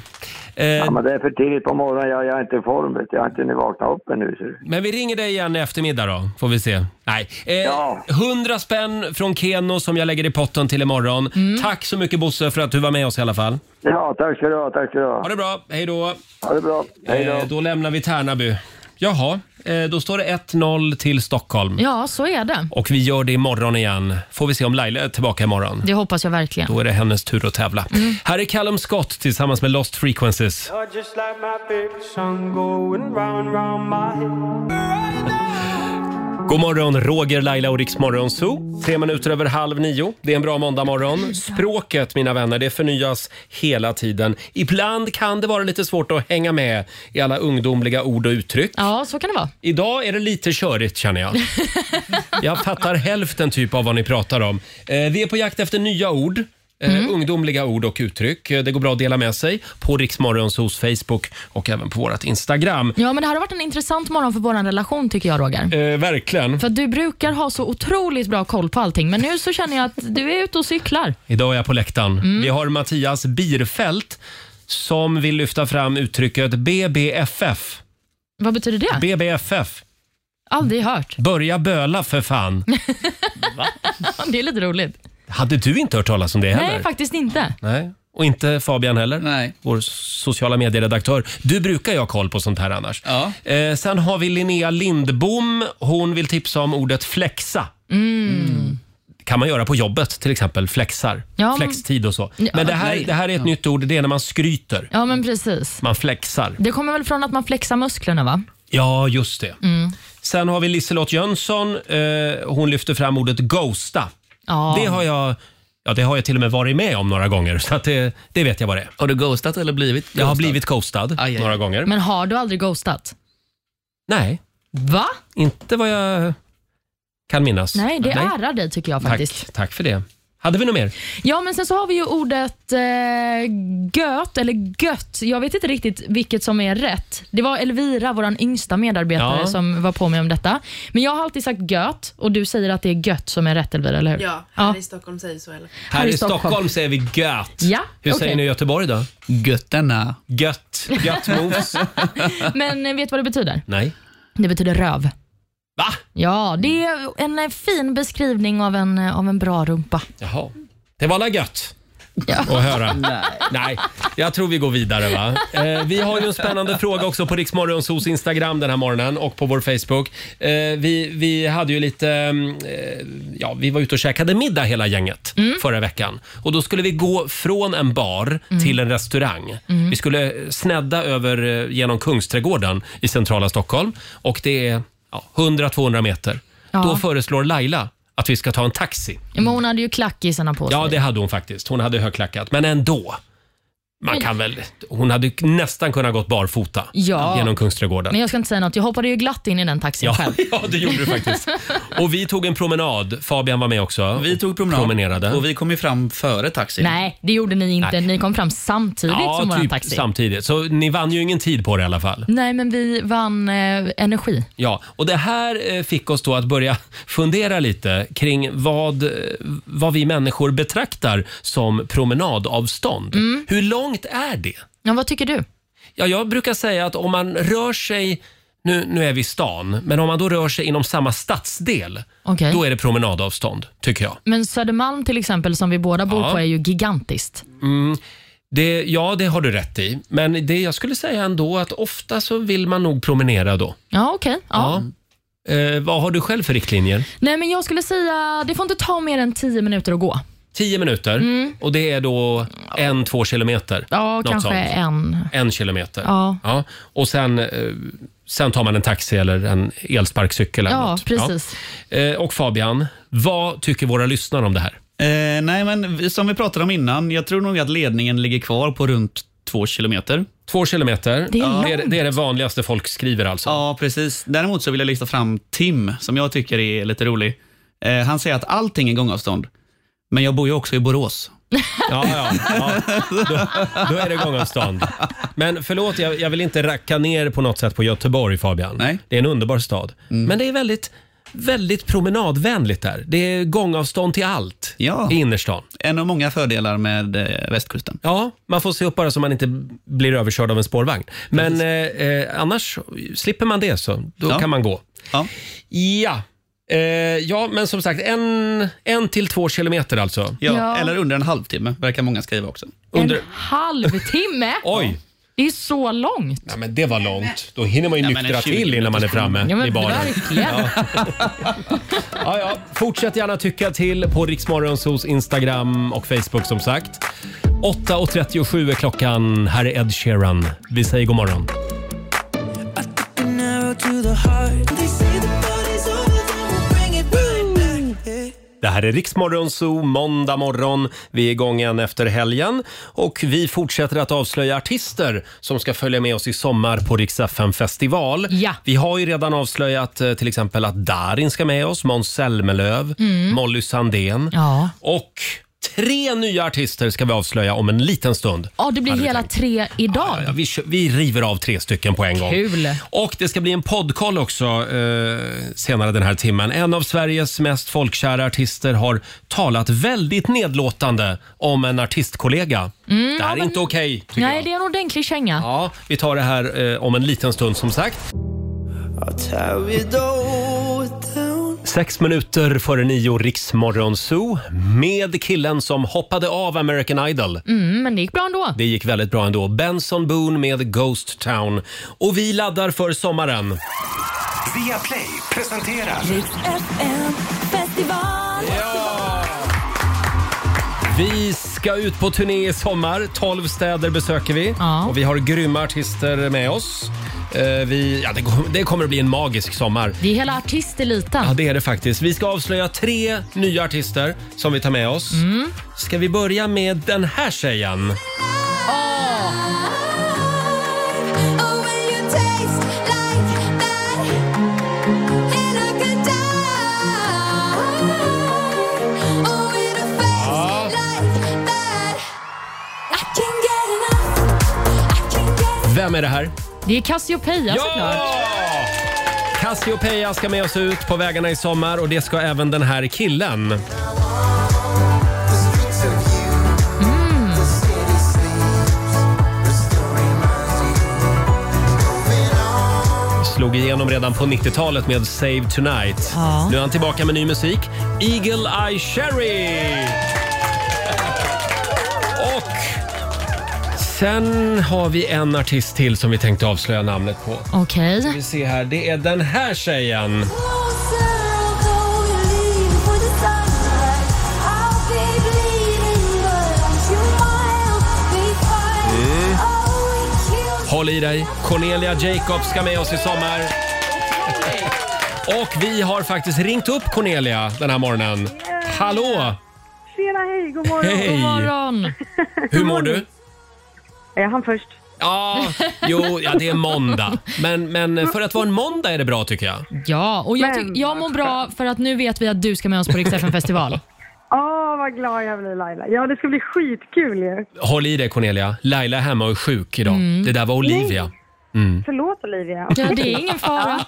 [SPEAKER 12] Ja, men det är för tidigt på morgonen. Jag, jag är inte i form. vet du. Jag har inte hunnit vakna upp ännu. ser du.
[SPEAKER 1] Men vi ringer dig igen i eftermiddag då, får vi se. Nej. Eh, 100 spänn från Keno som jag lägger i potten till imorgon. Tack så mycket Bosse för att du var med oss i alla fall.
[SPEAKER 12] Mm. Ja, tack ska du ha. Tack ska du ha.
[SPEAKER 1] Ha det bra. Hej då.
[SPEAKER 12] Ha det bra. Hej då.
[SPEAKER 1] Eh, då lämnar vi Tärnaby. Jaha, eh, då står det 1-0 till Stockholm.
[SPEAKER 2] Ja, så är det.
[SPEAKER 1] Och vi gör det imorgon igen. Får vi se om Laila är tillbaka imorgon.
[SPEAKER 2] Det hoppas jag verkligen.
[SPEAKER 1] Då är det hennes tur att tävla.
[SPEAKER 12] Mm.
[SPEAKER 1] Här är Callum Scott tillsammans med Lost Frequencies.
[SPEAKER 13] You're just like my favorite song going round round my head.
[SPEAKER 1] God morgon, Roger, Laila och Riksmorgon Zoo. Tre minuter över halv nio. Det är en bra måndagmorgon. Språket, mina vänner, det förnyas hela tiden. Ibland kan det vara lite svårt att hänga med i alla ungdomliga ord och uttryck.
[SPEAKER 2] Ja, så kan det vara.
[SPEAKER 1] Idag är det lite körigt känner jag. Jag fattar hälften typ av vad ni pratar om. Eh, vi är på jakt efter nya ord. Eh, Ungdomliga ord och uttryck. Eh, Det går bra att dela med sig på Riksmorgons hos Facebook och även på vårt Instagram.
[SPEAKER 2] Ja, men det här har varit en intressant morgon för vår relation tycker jag Roger.
[SPEAKER 1] Eh, verkligen.
[SPEAKER 2] För att du brukar ha så otroligt bra koll på allting, men nu så känner jag att du är ute och cyklar.
[SPEAKER 1] Idag är jag på läktaren.
[SPEAKER 2] Mm.
[SPEAKER 1] Vi har Mattias Birfelt som vill lyfta fram uttrycket BBFF.
[SPEAKER 2] Vad betyder det?
[SPEAKER 1] BBFF.
[SPEAKER 2] Aldrig hört.
[SPEAKER 1] Börja böla för fan.
[SPEAKER 2] det är lite roligt.
[SPEAKER 1] Hade du inte hört talas om det heller?
[SPEAKER 2] Nej, faktiskt inte.
[SPEAKER 1] Nej. Och inte Fabian heller, Nej. vår sociala medieredaktör. Du brukar ju ha koll på sånt här annars. Eh, sen har vi Linnea Lindbom. Hon vill tipsa om ordet flexa. kan man göra på jobbet till exempel. Flexar,
[SPEAKER 2] Mm. Ja, men-
[SPEAKER 1] flextid och så.
[SPEAKER 2] Ja,
[SPEAKER 1] men det här,
[SPEAKER 2] nej.
[SPEAKER 1] det här är ett
[SPEAKER 2] Ja.
[SPEAKER 1] nytt ord. Det är när man skryter.
[SPEAKER 2] Ja, men precis.
[SPEAKER 1] Man flexar.
[SPEAKER 2] Det kommer väl från att man flexar musklerna, va?
[SPEAKER 1] Ja, just det.
[SPEAKER 2] Mm.
[SPEAKER 1] Sen har vi Liselott Jönsson. Eh, hon lyfter fram ordet ghosta.
[SPEAKER 2] Ja.
[SPEAKER 1] Det har jag Ja, det har jag till och med varit med om några gånger, så att det, det vet jag vad det är. Har du ghostat eller blivit ghostad? Jag har blivit ghostad några gånger.
[SPEAKER 2] Men har du aldrig ghostat?
[SPEAKER 1] Nej,
[SPEAKER 2] Va?
[SPEAKER 1] inte vad jag kan minnas.
[SPEAKER 2] Nej, det ärar dig tycker jag faktiskt.
[SPEAKER 1] Tack, tack för det. Hade vi något mer?
[SPEAKER 2] Ja, men sen så har vi ju ordet eh, göt, eller gött. Jag vet inte riktigt vilket som är rätt. Det var Elvira, vår yngsta medarbetare,
[SPEAKER 14] Ja.
[SPEAKER 2] som var på mig om detta. Men jag har alltid sagt göt och du säger att det är gött som är rätt, Elvira, eller hur?
[SPEAKER 14] Ja, här i Stockholm säger så. Eller?
[SPEAKER 1] Här i Stockholm säger vi gött.
[SPEAKER 2] Ja,
[SPEAKER 1] Hur
[SPEAKER 2] okej.
[SPEAKER 1] säger ni i Göteborg då?
[SPEAKER 6] Götterna.
[SPEAKER 1] Gött. Gött mos.
[SPEAKER 2] Men eh, vet du vad det betyder?
[SPEAKER 1] Nej.
[SPEAKER 2] Det betyder röv.
[SPEAKER 1] Va?
[SPEAKER 2] Ja, det är en eh, fin beskrivning av en, eh, av en bra rumpa.
[SPEAKER 1] Jaha. Det var la gött att höra. Nej. jag tror vi går vidare. va? Eh, vi har ju en spännande fråga också på Riksmorgonsos Instagram den här morgonen och på vår Facebook. Eh, vi, vi hade ju lite... mm, Eh, ja, vi var ute och käkade middag hela gänget förra veckan. Och Då skulle vi gå från en bar
[SPEAKER 7] Mm.
[SPEAKER 1] till en restaurang.
[SPEAKER 7] Mm.
[SPEAKER 1] Vi skulle snedda över eh, genom Kungsträdgården i centrala Stockholm och det är ja, 100-200 meter.
[SPEAKER 2] Ja.
[SPEAKER 1] Då föreslår Laila att vi ska ta en taxi.
[SPEAKER 2] Men hon hade ju klackisarna på sig.
[SPEAKER 1] Ja, det hade hon faktiskt. Hon hade högklackat, men ändå. Man
[SPEAKER 2] Men-
[SPEAKER 1] kan väl, hon hade nästan kunnat gått barfota
[SPEAKER 2] Ja.
[SPEAKER 1] genom Kungsträdgården.
[SPEAKER 2] Men jag ska inte säga något. Jag hoppade ju glatt in i den taxin
[SPEAKER 1] Ja,
[SPEAKER 2] själv.
[SPEAKER 1] ja, det gjorde du faktiskt. Och vi tog en promenad. Fabian var med också. Vi tog promenad. Promenerade. Och vi kom ju fram före taxin.
[SPEAKER 2] Nej, det gjorde ni inte. Ni kom fram samtidigt
[SPEAKER 1] ja,
[SPEAKER 2] som vår
[SPEAKER 1] typ
[SPEAKER 2] taxi.
[SPEAKER 1] samtidigt. Så ni vann ju ingen tid på det i alla fall.
[SPEAKER 2] Nej, men vi vann eh, energi.
[SPEAKER 1] Ja, och det här eh, fick oss då att börja fundera lite kring vad, eh, vad vi människor betraktar som promenadavstånd.
[SPEAKER 2] Mm.
[SPEAKER 1] Hur långt är det?
[SPEAKER 2] Ja, vad tycker du?
[SPEAKER 1] Ja, jag brukar säga att om man rör sig, nu, nu är vi i stan, men om man då rör sig inom samma stadsdel,
[SPEAKER 2] Okej.
[SPEAKER 1] då är det promenadavstånd, tycker jag.
[SPEAKER 2] Men Södermalm till exempel, som vi båda bor
[SPEAKER 1] Ja.
[SPEAKER 2] på, är ju gigantiskt.
[SPEAKER 1] Mm. Det, ja, det har du rätt i. Men det, jag skulle säga ändå att ofta så vill man nog promenera då.
[SPEAKER 2] Ja, okej. Ja.
[SPEAKER 1] Ja. Eh, vad har du själv för riktlinjer?
[SPEAKER 2] Nej, men jag skulle säga, det får inte ta mer än 10 minuter att gå.
[SPEAKER 1] 10 minuter
[SPEAKER 2] Mm.
[SPEAKER 1] och det är då en, två kilometer.
[SPEAKER 2] Ja,
[SPEAKER 1] Något
[SPEAKER 2] kanske
[SPEAKER 1] sånt.
[SPEAKER 2] en.
[SPEAKER 1] En kilometer.
[SPEAKER 2] Ja.
[SPEAKER 1] Och sen, eh, sen tar man en taxi eller en elsparkcykel. Eller
[SPEAKER 2] Ja,
[SPEAKER 1] något.
[SPEAKER 2] precis.
[SPEAKER 1] Ja. Eh, Och Fabian, vad tycker våra lyssnare om det här?
[SPEAKER 6] Eh, nej, men vi- som vi pratade om innan, jag tror nog att ledningen ligger kvar på runt två kilometer.
[SPEAKER 1] Två kilometer?
[SPEAKER 6] Det är
[SPEAKER 1] det, är,
[SPEAKER 6] långt.
[SPEAKER 1] det är det vanligaste folk skriver alltså?
[SPEAKER 6] Ja, precis. Däremot så vill jag lyfta fram Tim, som jag tycker är lite rolig. Eh, han säger att allting är gångavstånd, men jag bor ju också i Borås.
[SPEAKER 1] Ja, ja. Då är det gångavstånd. Men förlåt, jag, jag vill inte racka ner på något sätt på Göteborg, Fabian. Nej. Det är en underbar stad. Men det är väldigt, väldigt promenadvänligt där. Det är gångavstånd till allt i innerstan.
[SPEAKER 6] En av många fördelar med eh, västkusten.
[SPEAKER 1] Ja, man får se upp bara så man inte blir överkörd av en spårvagn. Men eh, eh, annars, slipper man det så, då
[SPEAKER 6] Ja.
[SPEAKER 1] kan man gå.
[SPEAKER 6] Ja.
[SPEAKER 1] Ja. Eh, ja, men som sagt, en, en till två kilometer alltså.
[SPEAKER 2] Ja, Ja. eller
[SPEAKER 1] under en halvtimme, verkar många skriva också.
[SPEAKER 2] En halvtimme?
[SPEAKER 1] Oj.
[SPEAKER 2] Det är så långt.
[SPEAKER 1] Ja, men det var långt. Då hinner man ju
[SPEAKER 6] Ja, men
[SPEAKER 1] nyktra
[SPEAKER 6] en 20
[SPEAKER 1] till innan man är
[SPEAKER 6] minuters-
[SPEAKER 1] framme
[SPEAKER 2] Ja, men
[SPEAKER 1] i baren.
[SPEAKER 2] verkligen.
[SPEAKER 1] Ja, ja. Fortsätt gärna tycka till på Riksmorgonsos Instagram och Facebook som sagt. 8.37 är klockan. Här är Ed Sheeran. Vi säger god morgon. Det här är Riksmorgonso, måndag morgon. Vi är igång igen efter helgen. Och vi fortsätter att avslöja artister som ska följa med oss i sommar på Rix FM festival. Vi har ju redan avslöjat eh, till exempel att Darin ska med oss, Måns Zelmerlöw,
[SPEAKER 2] Mm.
[SPEAKER 1] Molly Sandén.
[SPEAKER 2] Ja.
[SPEAKER 1] Och tre nya artister ska vi avslöja om en liten stund.
[SPEAKER 2] Ja, det blir
[SPEAKER 1] Hade vi
[SPEAKER 2] hela tre idag.
[SPEAKER 1] Ja, vi, kö- vi river av tre stycken på en gång.
[SPEAKER 2] Kul.
[SPEAKER 1] Och det ska bli en poddkoll också eh, senare den här timmen. En av Sveriges mest folkkära artister har talat väldigt nedlåtande om en artistkollega.
[SPEAKER 2] Mm,
[SPEAKER 1] det här
[SPEAKER 2] ja,
[SPEAKER 1] är
[SPEAKER 2] men-
[SPEAKER 1] inte okej. tycker
[SPEAKER 2] Nej, det är en ordentlig känga.
[SPEAKER 1] Ja, vi tar det här eh, om en liten stund som sagt. Sex minuter före nio, Riksmorgon Zoo med killen som hoppade av American Idol.
[SPEAKER 2] Mm, men det gick bra ändå.
[SPEAKER 1] Det gick väldigt bra ändå. Benson Boone med Ghost Town. Och vi laddar för sommaren.
[SPEAKER 7] Via Play presenterar...
[SPEAKER 8] Festival.
[SPEAKER 1] Vi ska ut på turné i sommar. 12 städer besöker vi. Och vi har grymma artister med oss. Eh, vi, ja, det, kom- det kommer att bli en magisk sommar.
[SPEAKER 2] Det är hela artisteliten.
[SPEAKER 1] Ja, det är det faktiskt. Vi ska avslöja tre nya artister som vi tar med oss. Ska vi börja med den här tjejen?
[SPEAKER 9] Oh, Oh,
[SPEAKER 1] är det här?
[SPEAKER 2] Det är Cassiopeia såklart.
[SPEAKER 1] Cassiopeia ska med oss ut på vägarna i sommar och det ska även den här killen. Mm. Slog igenom redan på 90-talet med Save Tonight.
[SPEAKER 2] Ja.
[SPEAKER 1] Nu är han tillbaka med ny musik. Eagle Eye Cherry! Och sen har vi en artist till som vi tänkte avslöja namnet på.
[SPEAKER 2] Okej.
[SPEAKER 1] Ska vi se här. Det är den här tjejen. Mm. Håll i dig. Cornelia Jacobs ska med oss i sommar. Och vi har faktiskt ringt upp Cornelia den här morgonen. Hallå!
[SPEAKER 15] Tjena, hej, god morgon.
[SPEAKER 1] Hej. God morgon. Hur mår du?
[SPEAKER 15] Är han först?
[SPEAKER 1] Ja, jo, ja, det är måndag. Men, men för att vara en måndag är det bra tycker jag.
[SPEAKER 2] Ja, och jag, tyck- jag mår bra för att nu vet vi att du ska med oss på Rix FM festival
[SPEAKER 15] Åh, vad glad jag blir Laila. Ja, det ska bli skitkul ju.
[SPEAKER 1] Håll i dig Cornelia. Laila är hemma och är sjuk idag.
[SPEAKER 15] Mm.
[SPEAKER 1] Det där var Olivia. Mm.
[SPEAKER 15] Förlåt Olivia.
[SPEAKER 2] Ja, det är ingen fara.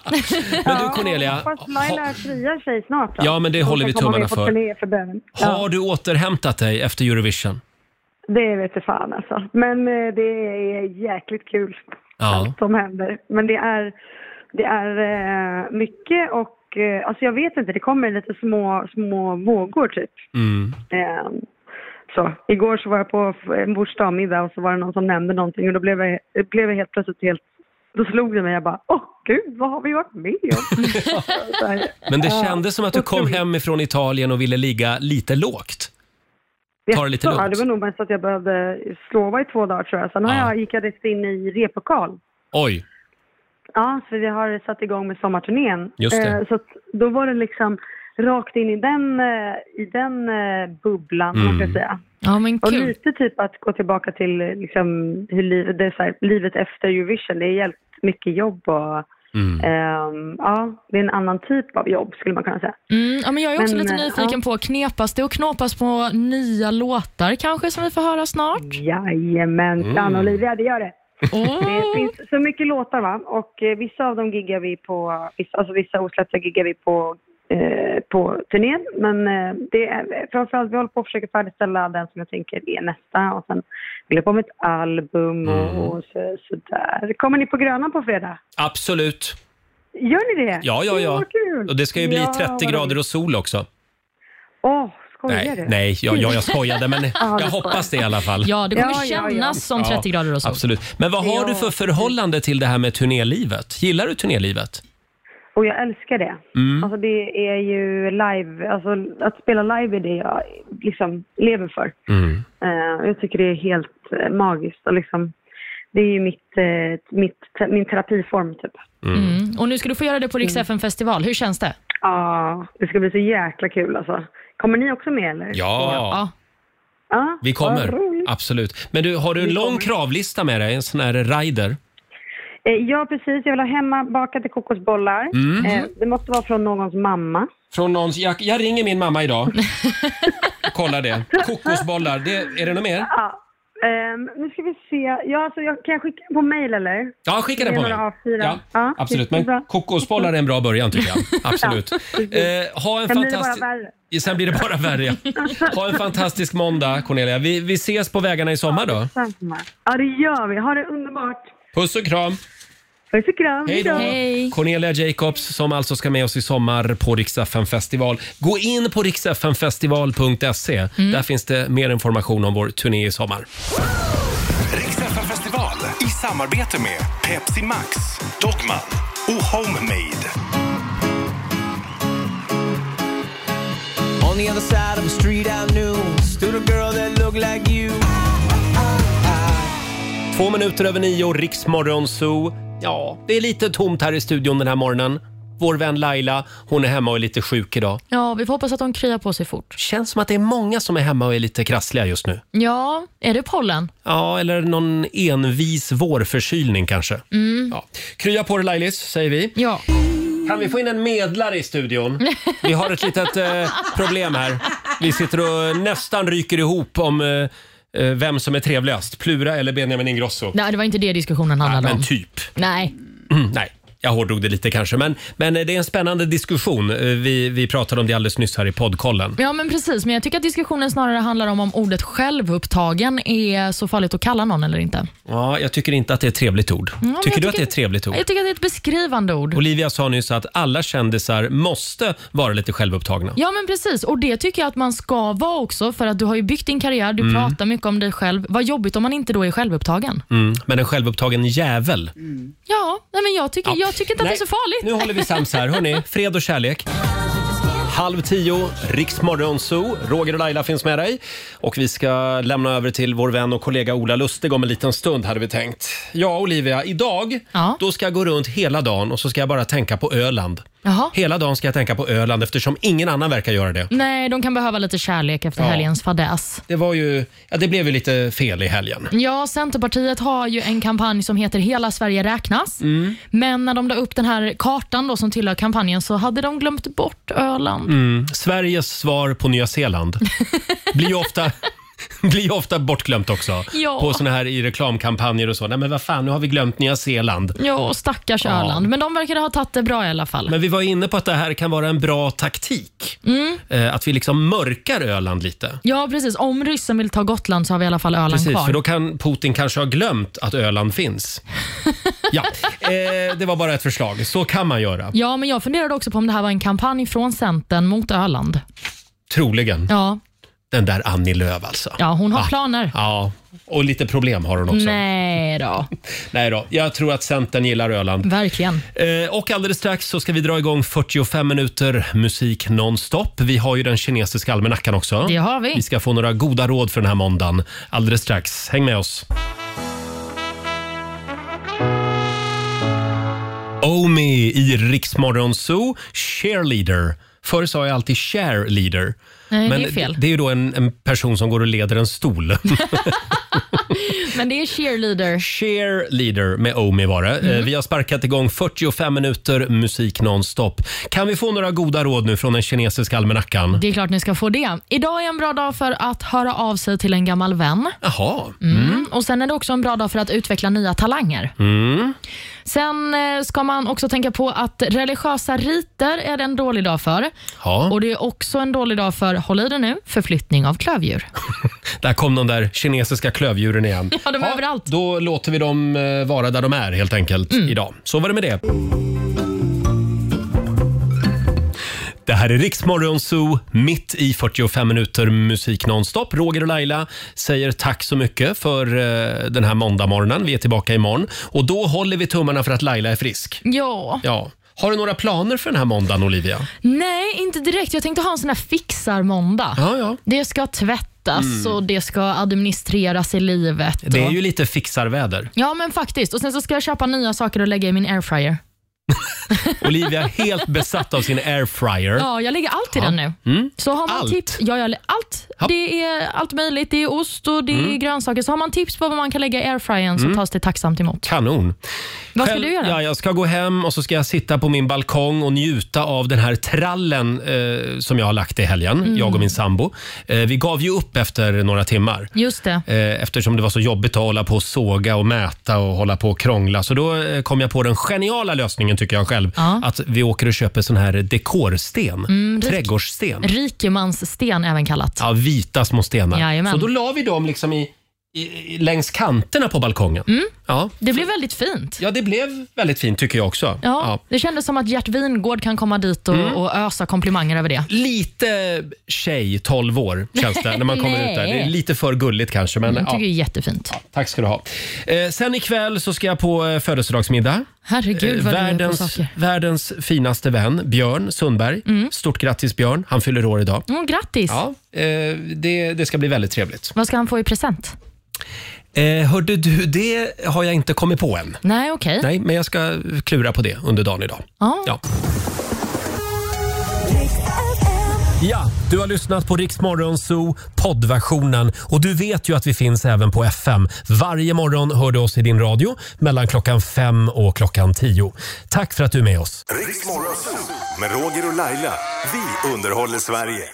[SPEAKER 1] Men du Cornelia,
[SPEAKER 15] Hoppas Laila friar sig snart då.
[SPEAKER 1] Ja, men det
[SPEAKER 15] Så
[SPEAKER 1] håller
[SPEAKER 15] kan
[SPEAKER 1] vi
[SPEAKER 15] komma
[SPEAKER 1] tummarna
[SPEAKER 15] med på
[SPEAKER 1] för.
[SPEAKER 15] turné för bönen.
[SPEAKER 1] har du återhämtat dig efter Eurovision?
[SPEAKER 15] Det vet jag fan alltså. Men eh, det är jäkligt kul
[SPEAKER 1] Ja.
[SPEAKER 15] som händer. Men det är, det är eh, mycket och eh, alltså jag vet inte, det kommer lite små, små vågor typ.
[SPEAKER 1] Mm.
[SPEAKER 15] Eh, Så, igår så var jag på en bordsdagmiddag och så var det någon som nämnde någonting och då blev jag, det blev jag helt plötsligt helt... Då slog det mig, jag bara åh gud, vad har vi varit med om? Så här,
[SPEAKER 1] Men det
[SPEAKER 15] ja.
[SPEAKER 1] kändes som att du kom hem ifrån Italien och ville ligga lite lågt. Ta det lite
[SPEAKER 15] Ja,
[SPEAKER 1] lugnt.
[SPEAKER 15] det var nog mest att jag behövde sova i två dagar tror jag. Sen har jag, gick jag direkt in i replokal.
[SPEAKER 1] Oj.
[SPEAKER 15] Ja, för vi har satt igång med sommarturnén.
[SPEAKER 1] Just det.
[SPEAKER 15] Eh, Så att då var det liksom rakt in i den, eh, i den eh, bubblan,
[SPEAKER 1] Mm.
[SPEAKER 15] man kan säga.
[SPEAKER 2] Ja, men
[SPEAKER 15] och
[SPEAKER 2] kul.
[SPEAKER 15] lite typ att gå tillbaka till eh, liksom, hur livet, det är så här, livet efter Eurovision. Det är jävligt mycket jobb och
[SPEAKER 1] Mm.
[SPEAKER 15] ehm, ja, det är en annan typ av jobb skulle man kunna säga.
[SPEAKER 2] Mm, ja, men jag är också
[SPEAKER 15] Men,
[SPEAKER 2] lite
[SPEAKER 15] eh,
[SPEAKER 2] nyfiken
[SPEAKER 15] ja.
[SPEAKER 2] på, knepas det och knåpas på nya låtar kanske som vi får höra
[SPEAKER 15] Mm.
[SPEAKER 2] snart?
[SPEAKER 15] Jajamensan
[SPEAKER 2] Mm.
[SPEAKER 15] Olivia, det gör det.
[SPEAKER 2] Oh.
[SPEAKER 1] Mm.
[SPEAKER 15] Det finns så mycket låtar va, och eh, vissa av dem giggar vi på, vissa, alltså vissa osläppta giggar vi på, eh, på turnén. Men eh, det är framförallt, vi håller på att försöka färdigställa den som jag tänker är nästa och sen håller jag på med ett album
[SPEAKER 1] Mm.
[SPEAKER 15] och, och så, sådär. Kommer ni på Grönan på fredag?
[SPEAKER 1] Absolut.
[SPEAKER 15] Gör ni det?
[SPEAKER 1] Ja, ja,
[SPEAKER 15] Åh,
[SPEAKER 1] ja.
[SPEAKER 15] vad kul.
[SPEAKER 1] Och det ska ju bli
[SPEAKER 15] Ja,
[SPEAKER 1] 30
[SPEAKER 15] vad
[SPEAKER 1] grader
[SPEAKER 15] roligt.
[SPEAKER 1] och sol också.
[SPEAKER 15] Åh, skojar du?
[SPEAKER 1] Nej, nej jag, jag, jag skojade men
[SPEAKER 15] Ja,
[SPEAKER 1] jag
[SPEAKER 15] du
[SPEAKER 1] hoppas det i
[SPEAKER 15] skojar.
[SPEAKER 1] alla fall.
[SPEAKER 2] Ja, det kommer
[SPEAKER 15] Ja, ja,
[SPEAKER 2] kännas
[SPEAKER 15] ja.
[SPEAKER 2] som 30 grader och sol.
[SPEAKER 1] Absolut. Men vad har du för förhållande till det här med turnélivet? Gillar du turnélivet?
[SPEAKER 15] Och jag älskar det.
[SPEAKER 1] Mm.
[SPEAKER 15] Alltså det är ju live, alltså att spela live är det jag liksom lever för.
[SPEAKER 1] Mm.
[SPEAKER 15] Eh, jag tycker det är helt eh, magiskt och liksom, det är ju mitt, eh, mitt, te- min terapiform typ.
[SPEAKER 2] Mm. Och nu ska du få göra det på Rix FM festival. Hur känns det?
[SPEAKER 15] Ja, det ska bli så jäkla kul alltså. Kommer ni också med eller?
[SPEAKER 1] Ja.
[SPEAKER 15] Ja,
[SPEAKER 1] Vi kommer.
[SPEAKER 15] vad roligt.
[SPEAKER 1] Absolut. Men du, har du en lång kravlista med dig? En sån här rider?
[SPEAKER 15] Eh, ja, precis. Jag vill ha hemma bakade kokosbollar.
[SPEAKER 1] Mm.
[SPEAKER 15] Eh, det måste vara från någons mamma.
[SPEAKER 1] Från någon, jag, jag ringer min mamma idag. Kolla det. Kokosbollar. Det, är det något mer?
[SPEAKER 15] Ja. Ehm, nu ska vi se. Ja, alltså, jag, kan jag skicka den på mail eller?
[SPEAKER 1] Ja, skicka den på mig.
[SPEAKER 15] mig.
[SPEAKER 1] Ja, absolut. Men kokosbollar är en bra början tycker jag. Absolut. Eh, ha en
[SPEAKER 15] Sen blir det
[SPEAKER 1] fantastisk...
[SPEAKER 15] bara värre.
[SPEAKER 1] Sen blir det bara värre. ja. Ha en fantastisk måndag Cornelia. Vi, vi ses på vägarna i sommar då.
[SPEAKER 15] Samma. Ja, det gör vi. Ha det underbart.
[SPEAKER 1] Puss och kram.
[SPEAKER 15] Puss och kram.
[SPEAKER 1] Hej då!
[SPEAKER 15] Hej.
[SPEAKER 1] Cornelia Jacobs som alltså ska med oss i sommar på Rix FM festival. Gå in på riksfmfestival.se. Där finns det mer information om vår turné i sommar.
[SPEAKER 7] Riksfn festival i samarbete med Pepsi Max, Dogman och Homemade.
[SPEAKER 16] On the other side of the street I knew stood a girl that looked like you.
[SPEAKER 1] Två minuter över nio, Riksmorgon Zoo. Ja, det är lite tomt här i studion den här morgonen. Vår vän Laila, hon är hemma och är lite sjuk idag.
[SPEAKER 2] Ja, vi får hoppas att de kryar på sig fort.
[SPEAKER 1] Känns som att det är många som är hemma och är lite krassliga just nu.
[SPEAKER 2] Ja, är det pollen?
[SPEAKER 1] Ja, eller någon envis vårförkylning kanske.
[SPEAKER 2] Mm.
[SPEAKER 1] Ja. Krya på dig Lailis, säger vi.
[SPEAKER 2] Ja.
[SPEAKER 1] Kan vi få in en medlare i studion? Vi har ett litet eh, problem här. Vi sitter och nästan ryker ihop om eh, eh, vem som är trevligast, Plura eller Benjamin Ingrosso?
[SPEAKER 2] Nej, det var inte det diskussionen handlade
[SPEAKER 1] Men
[SPEAKER 2] om.
[SPEAKER 1] typ.
[SPEAKER 2] Nej.
[SPEAKER 1] Mm, Nej, jag hårdrog det lite kanske. Men, men eh, det är en spännande diskussion. Eh, Vi, vi pratade om det alldeles nyss här i poddkollen.
[SPEAKER 2] Ja, men precis. Men jag tycker att diskussionen snarare handlar om om ordet självupptagen är så farligt att kalla någon eller inte.
[SPEAKER 1] Ja, jag tycker inte att det är ett trevligt ord.
[SPEAKER 2] men jag
[SPEAKER 1] tycker du att
[SPEAKER 2] tycker-
[SPEAKER 1] det är ett trevligt ord?
[SPEAKER 2] Jag tycker att det är ett beskrivande ord.
[SPEAKER 1] Olivia sa nyss att alla kändisar måste vara lite självupptagna.
[SPEAKER 2] Ja men precis och det tycker jag att man ska vara också för att du har ju byggt din karriär, du
[SPEAKER 1] Mm.
[SPEAKER 2] pratar mycket om dig själv. Vad jobbigt om man inte då är självupptagen.
[SPEAKER 1] Mm. Men en självupptagen jävel.
[SPEAKER 2] Ja, nej, men jag tycker,
[SPEAKER 1] Ja.
[SPEAKER 2] jag tycker inte
[SPEAKER 1] Nej,
[SPEAKER 2] att det är så farligt.
[SPEAKER 1] Nu håller vi sams här. Hörni, fred och kärlek. Halv tio, Riksmorgon Zoo. Roger och Laila finns med dig. Och vi ska lämna över till vår vän och kollega Ola Lustig om en liten stund hade vi tänkt. Ja, Olivia, idag då ska jag gå runt hela dagen och så ska jag bara tänka på Öland.
[SPEAKER 2] Jaha.
[SPEAKER 1] Hela dagen ska jag tänka på Öland eftersom ingen annan verkar göra det.
[SPEAKER 2] Nej, de kan behöva lite kärlek efter
[SPEAKER 1] Ja.
[SPEAKER 2] helgens fadäs.
[SPEAKER 1] Det var ju, ja, det blev ju lite fel i helgen.
[SPEAKER 2] Ja, Centerpartiet har ju en kampanj som heter Hela Sverige räknas.
[SPEAKER 1] Mm.
[SPEAKER 2] Men när de la upp den här kartan då som tillhör kampanjen så hade de glömt bort Öland.
[SPEAKER 1] Mm. Sveriges svar på Nya Zeeland blir ju ofta, blir ju ofta bortglömt också.
[SPEAKER 2] Ja.
[SPEAKER 1] På såna här i reklamkampanjer och så. Nej men vad fan, nu har vi glömt Nya Zeeland.
[SPEAKER 2] Ja, och stackars
[SPEAKER 1] Ja.
[SPEAKER 2] Öland. Men de verkade ha tagit det bra i alla fall.
[SPEAKER 1] Men vi var inne på att det här kan vara en bra taktik.
[SPEAKER 2] Mm.
[SPEAKER 1] Eh, att vi liksom mörkar Öland lite.
[SPEAKER 2] Ja, precis. Om ryssen vill ta Gotland så har vi i alla fall Öland
[SPEAKER 1] Precis,
[SPEAKER 2] kvar.
[SPEAKER 1] för då kan Putin kanske ha glömt att Öland finns. Ja, eh, det var bara ett förslag. Så kan man göra.
[SPEAKER 2] Ja, men jag funderade också på om det här var en kampanj från Centern mot Öland.
[SPEAKER 1] Troligen.
[SPEAKER 2] Ja,
[SPEAKER 1] Den där Annie Lööf alltså.
[SPEAKER 2] ja hon har
[SPEAKER 1] Va?
[SPEAKER 2] planer.
[SPEAKER 1] Ja, och lite problem har hon också.
[SPEAKER 2] Nej då,
[SPEAKER 1] Nej då, jag tror att Centern gillar Öland.
[SPEAKER 2] verkligen.
[SPEAKER 1] Eh, Och alldeles strax så ska vi dra igång 45 minuter musik nonstop. Vi har ju den kinesiska almanackan också.
[SPEAKER 2] Det har vi.
[SPEAKER 1] Vi ska få några goda råd för den här måndagen alldeles strax. Häng med oss. Omi i Riksmorgon Zoo, cheerleader. Förr sa jag alltid cheerleader.
[SPEAKER 2] Nej, det
[SPEAKER 1] Men
[SPEAKER 2] är fel.
[SPEAKER 1] Det är ju då en, en person som går och leder en stol.
[SPEAKER 2] Men det är cheerleader.
[SPEAKER 1] Cheerleader med Omi var det.
[SPEAKER 2] Mm.
[SPEAKER 1] Eh, Vi har sparkat igång 45 minuter musik nonstop. Kan vi få några goda råd nu från den kinesiska almanackan?
[SPEAKER 2] Det är klart ni ska få det. Idag är en bra dag för att höra av sig till en gammal vän.
[SPEAKER 1] Jaha.
[SPEAKER 2] Mm. Och Sen är det också en bra dag för att utveckla nya talanger.
[SPEAKER 1] Mm.
[SPEAKER 2] Sen eh, ska man också tänka på att religiösa riter är det en dålig dag för.
[SPEAKER 1] Ja,
[SPEAKER 2] Och Det är också en dålig dag för, håll i det nu, förflyttning av klövdjur.
[SPEAKER 1] där kom de där kinesiska klövdjuren igen.
[SPEAKER 2] Ja, de är överallt. Mm.
[SPEAKER 1] Då låter vi dem eh, vara där de är helt enkelt idag. Så var det med det. Det här är Riksmorgon Zoo, mitt i 45 minuter musik nonstop. Roger och Laila säger tack så mycket för eh, den här måndagmorgonen. Vi är tillbaka imorgon och då håller vi tummarna för att Laila är frisk.
[SPEAKER 2] Ja.
[SPEAKER 1] Ja. Har du några planer för den här måndagen, Olivia?
[SPEAKER 2] Nej, inte direkt. Jag tänkte ha en sån här fixarmåndag.
[SPEAKER 1] Ja, ja.
[SPEAKER 2] Det ska tvättas
[SPEAKER 1] Mm.
[SPEAKER 2] och det ska administreras i livet.
[SPEAKER 1] Det är
[SPEAKER 2] och...
[SPEAKER 1] ju lite fixarväder.
[SPEAKER 2] Ja, men faktiskt. Och Sen så ska jag köpa nya saker och lägga i min airfryer.
[SPEAKER 1] Olivia är helt besatt av sin airfryer.
[SPEAKER 2] Ja, jag lägger allt i den nu.
[SPEAKER 1] Mm.
[SPEAKER 2] Så har man
[SPEAKER 1] Allt?
[SPEAKER 2] tips, ja, jag, allt. Det är allt möjligt. Det är ost och det är
[SPEAKER 1] Mm.
[SPEAKER 2] grönsaker. Så har man tips på vad man kan lägga i airfryern så
[SPEAKER 1] Mm.
[SPEAKER 2] tas det tacksamt emot.
[SPEAKER 1] Kanon.
[SPEAKER 2] Vad ska
[SPEAKER 1] Själv-
[SPEAKER 2] du göra?
[SPEAKER 1] Ja, jag ska gå hem och så ska jag sitta på min balkong och njuta av den här trallen eh, som jag har lagt i helgen,
[SPEAKER 2] Mm.
[SPEAKER 1] jag och min sambo. Eh, vi gav ju upp efter några timmar.
[SPEAKER 2] Just det.
[SPEAKER 1] Eh, eftersom det var så jobbigt att hålla på och såga och mäta och hålla på och krångla. Så då eh, kom jag på den geniala lösningen tycker jag själv. Att vi åker och köper sån här dekorsten.
[SPEAKER 2] Mm, rik-
[SPEAKER 1] trädgårdssten.
[SPEAKER 2] Rikemanssten även kallat.
[SPEAKER 1] Ja, vita små stenar.
[SPEAKER 2] Jajamän.
[SPEAKER 1] Så då la vi dem liksom i, i, längs kanterna på balkongen.
[SPEAKER 2] Mm.
[SPEAKER 1] Ja.
[SPEAKER 2] Det blev väldigt fint.
[SPEAKER 1] ja, det blev väldigt fint tycker jag också.
[SPEAKER 2] Ja, Det kändes som att Gert Wingårdh kan komma dit och,
[SPEAKER 1] Mm.
[SPEAKER 2] och ösa komplimanger över det.
[SPEAKER 1] Lite tjej, 12 år känns det när man kommer ut där. Det är
[SPEAKER 2] Nej.
[SPEAKER 1] lite för gulligt kanske. Men,
[SPEAKER 2] jag tycker det är
[SPEAKER 1] ja.
[SPEAKER 2] jättefint.
[SPEAKER 1] Tack ska du ha. Eh, sen ikväll så ska jag på eh, födelsedagsmiddag.
[SPEAKER 2] Herregud, vad du är på
[SPEAKER 1] Eh, världens,
[SPEAKER 2] saker.
[SPEAKER 1] världens finaste vän, Björn Sundberg. Stort grattis Björn, han fyller år idag.
[SPEAKER 2] Mm, grattis!
[SPEAKER 1] Ja, eh, det, det ska bli väldigt trevligt.
[SPEAKER 2] Vad ska han få i present?
[SPEAKER 1] Eh, hörde du, det har jag inte kommit på än.
[SPEAKER 2] Nej, okej.
[SPEAKER 1] Nej, men jag ska klura på det under dagen idag.
[SPEAKER 2] Ja.
[SPEAKER 1] Ja. Ja, du har lyssnat på Rix Morgon Zoo poddversionen och du vet ju att vi finns även på FM. Varje morgon hör du oss i din radio mellan klockan fem och klockan tio. Tack för att du är med oss.
[SPEAKER 17] Riksmorgon med Roger och Laila. Vi underhåller Sverige.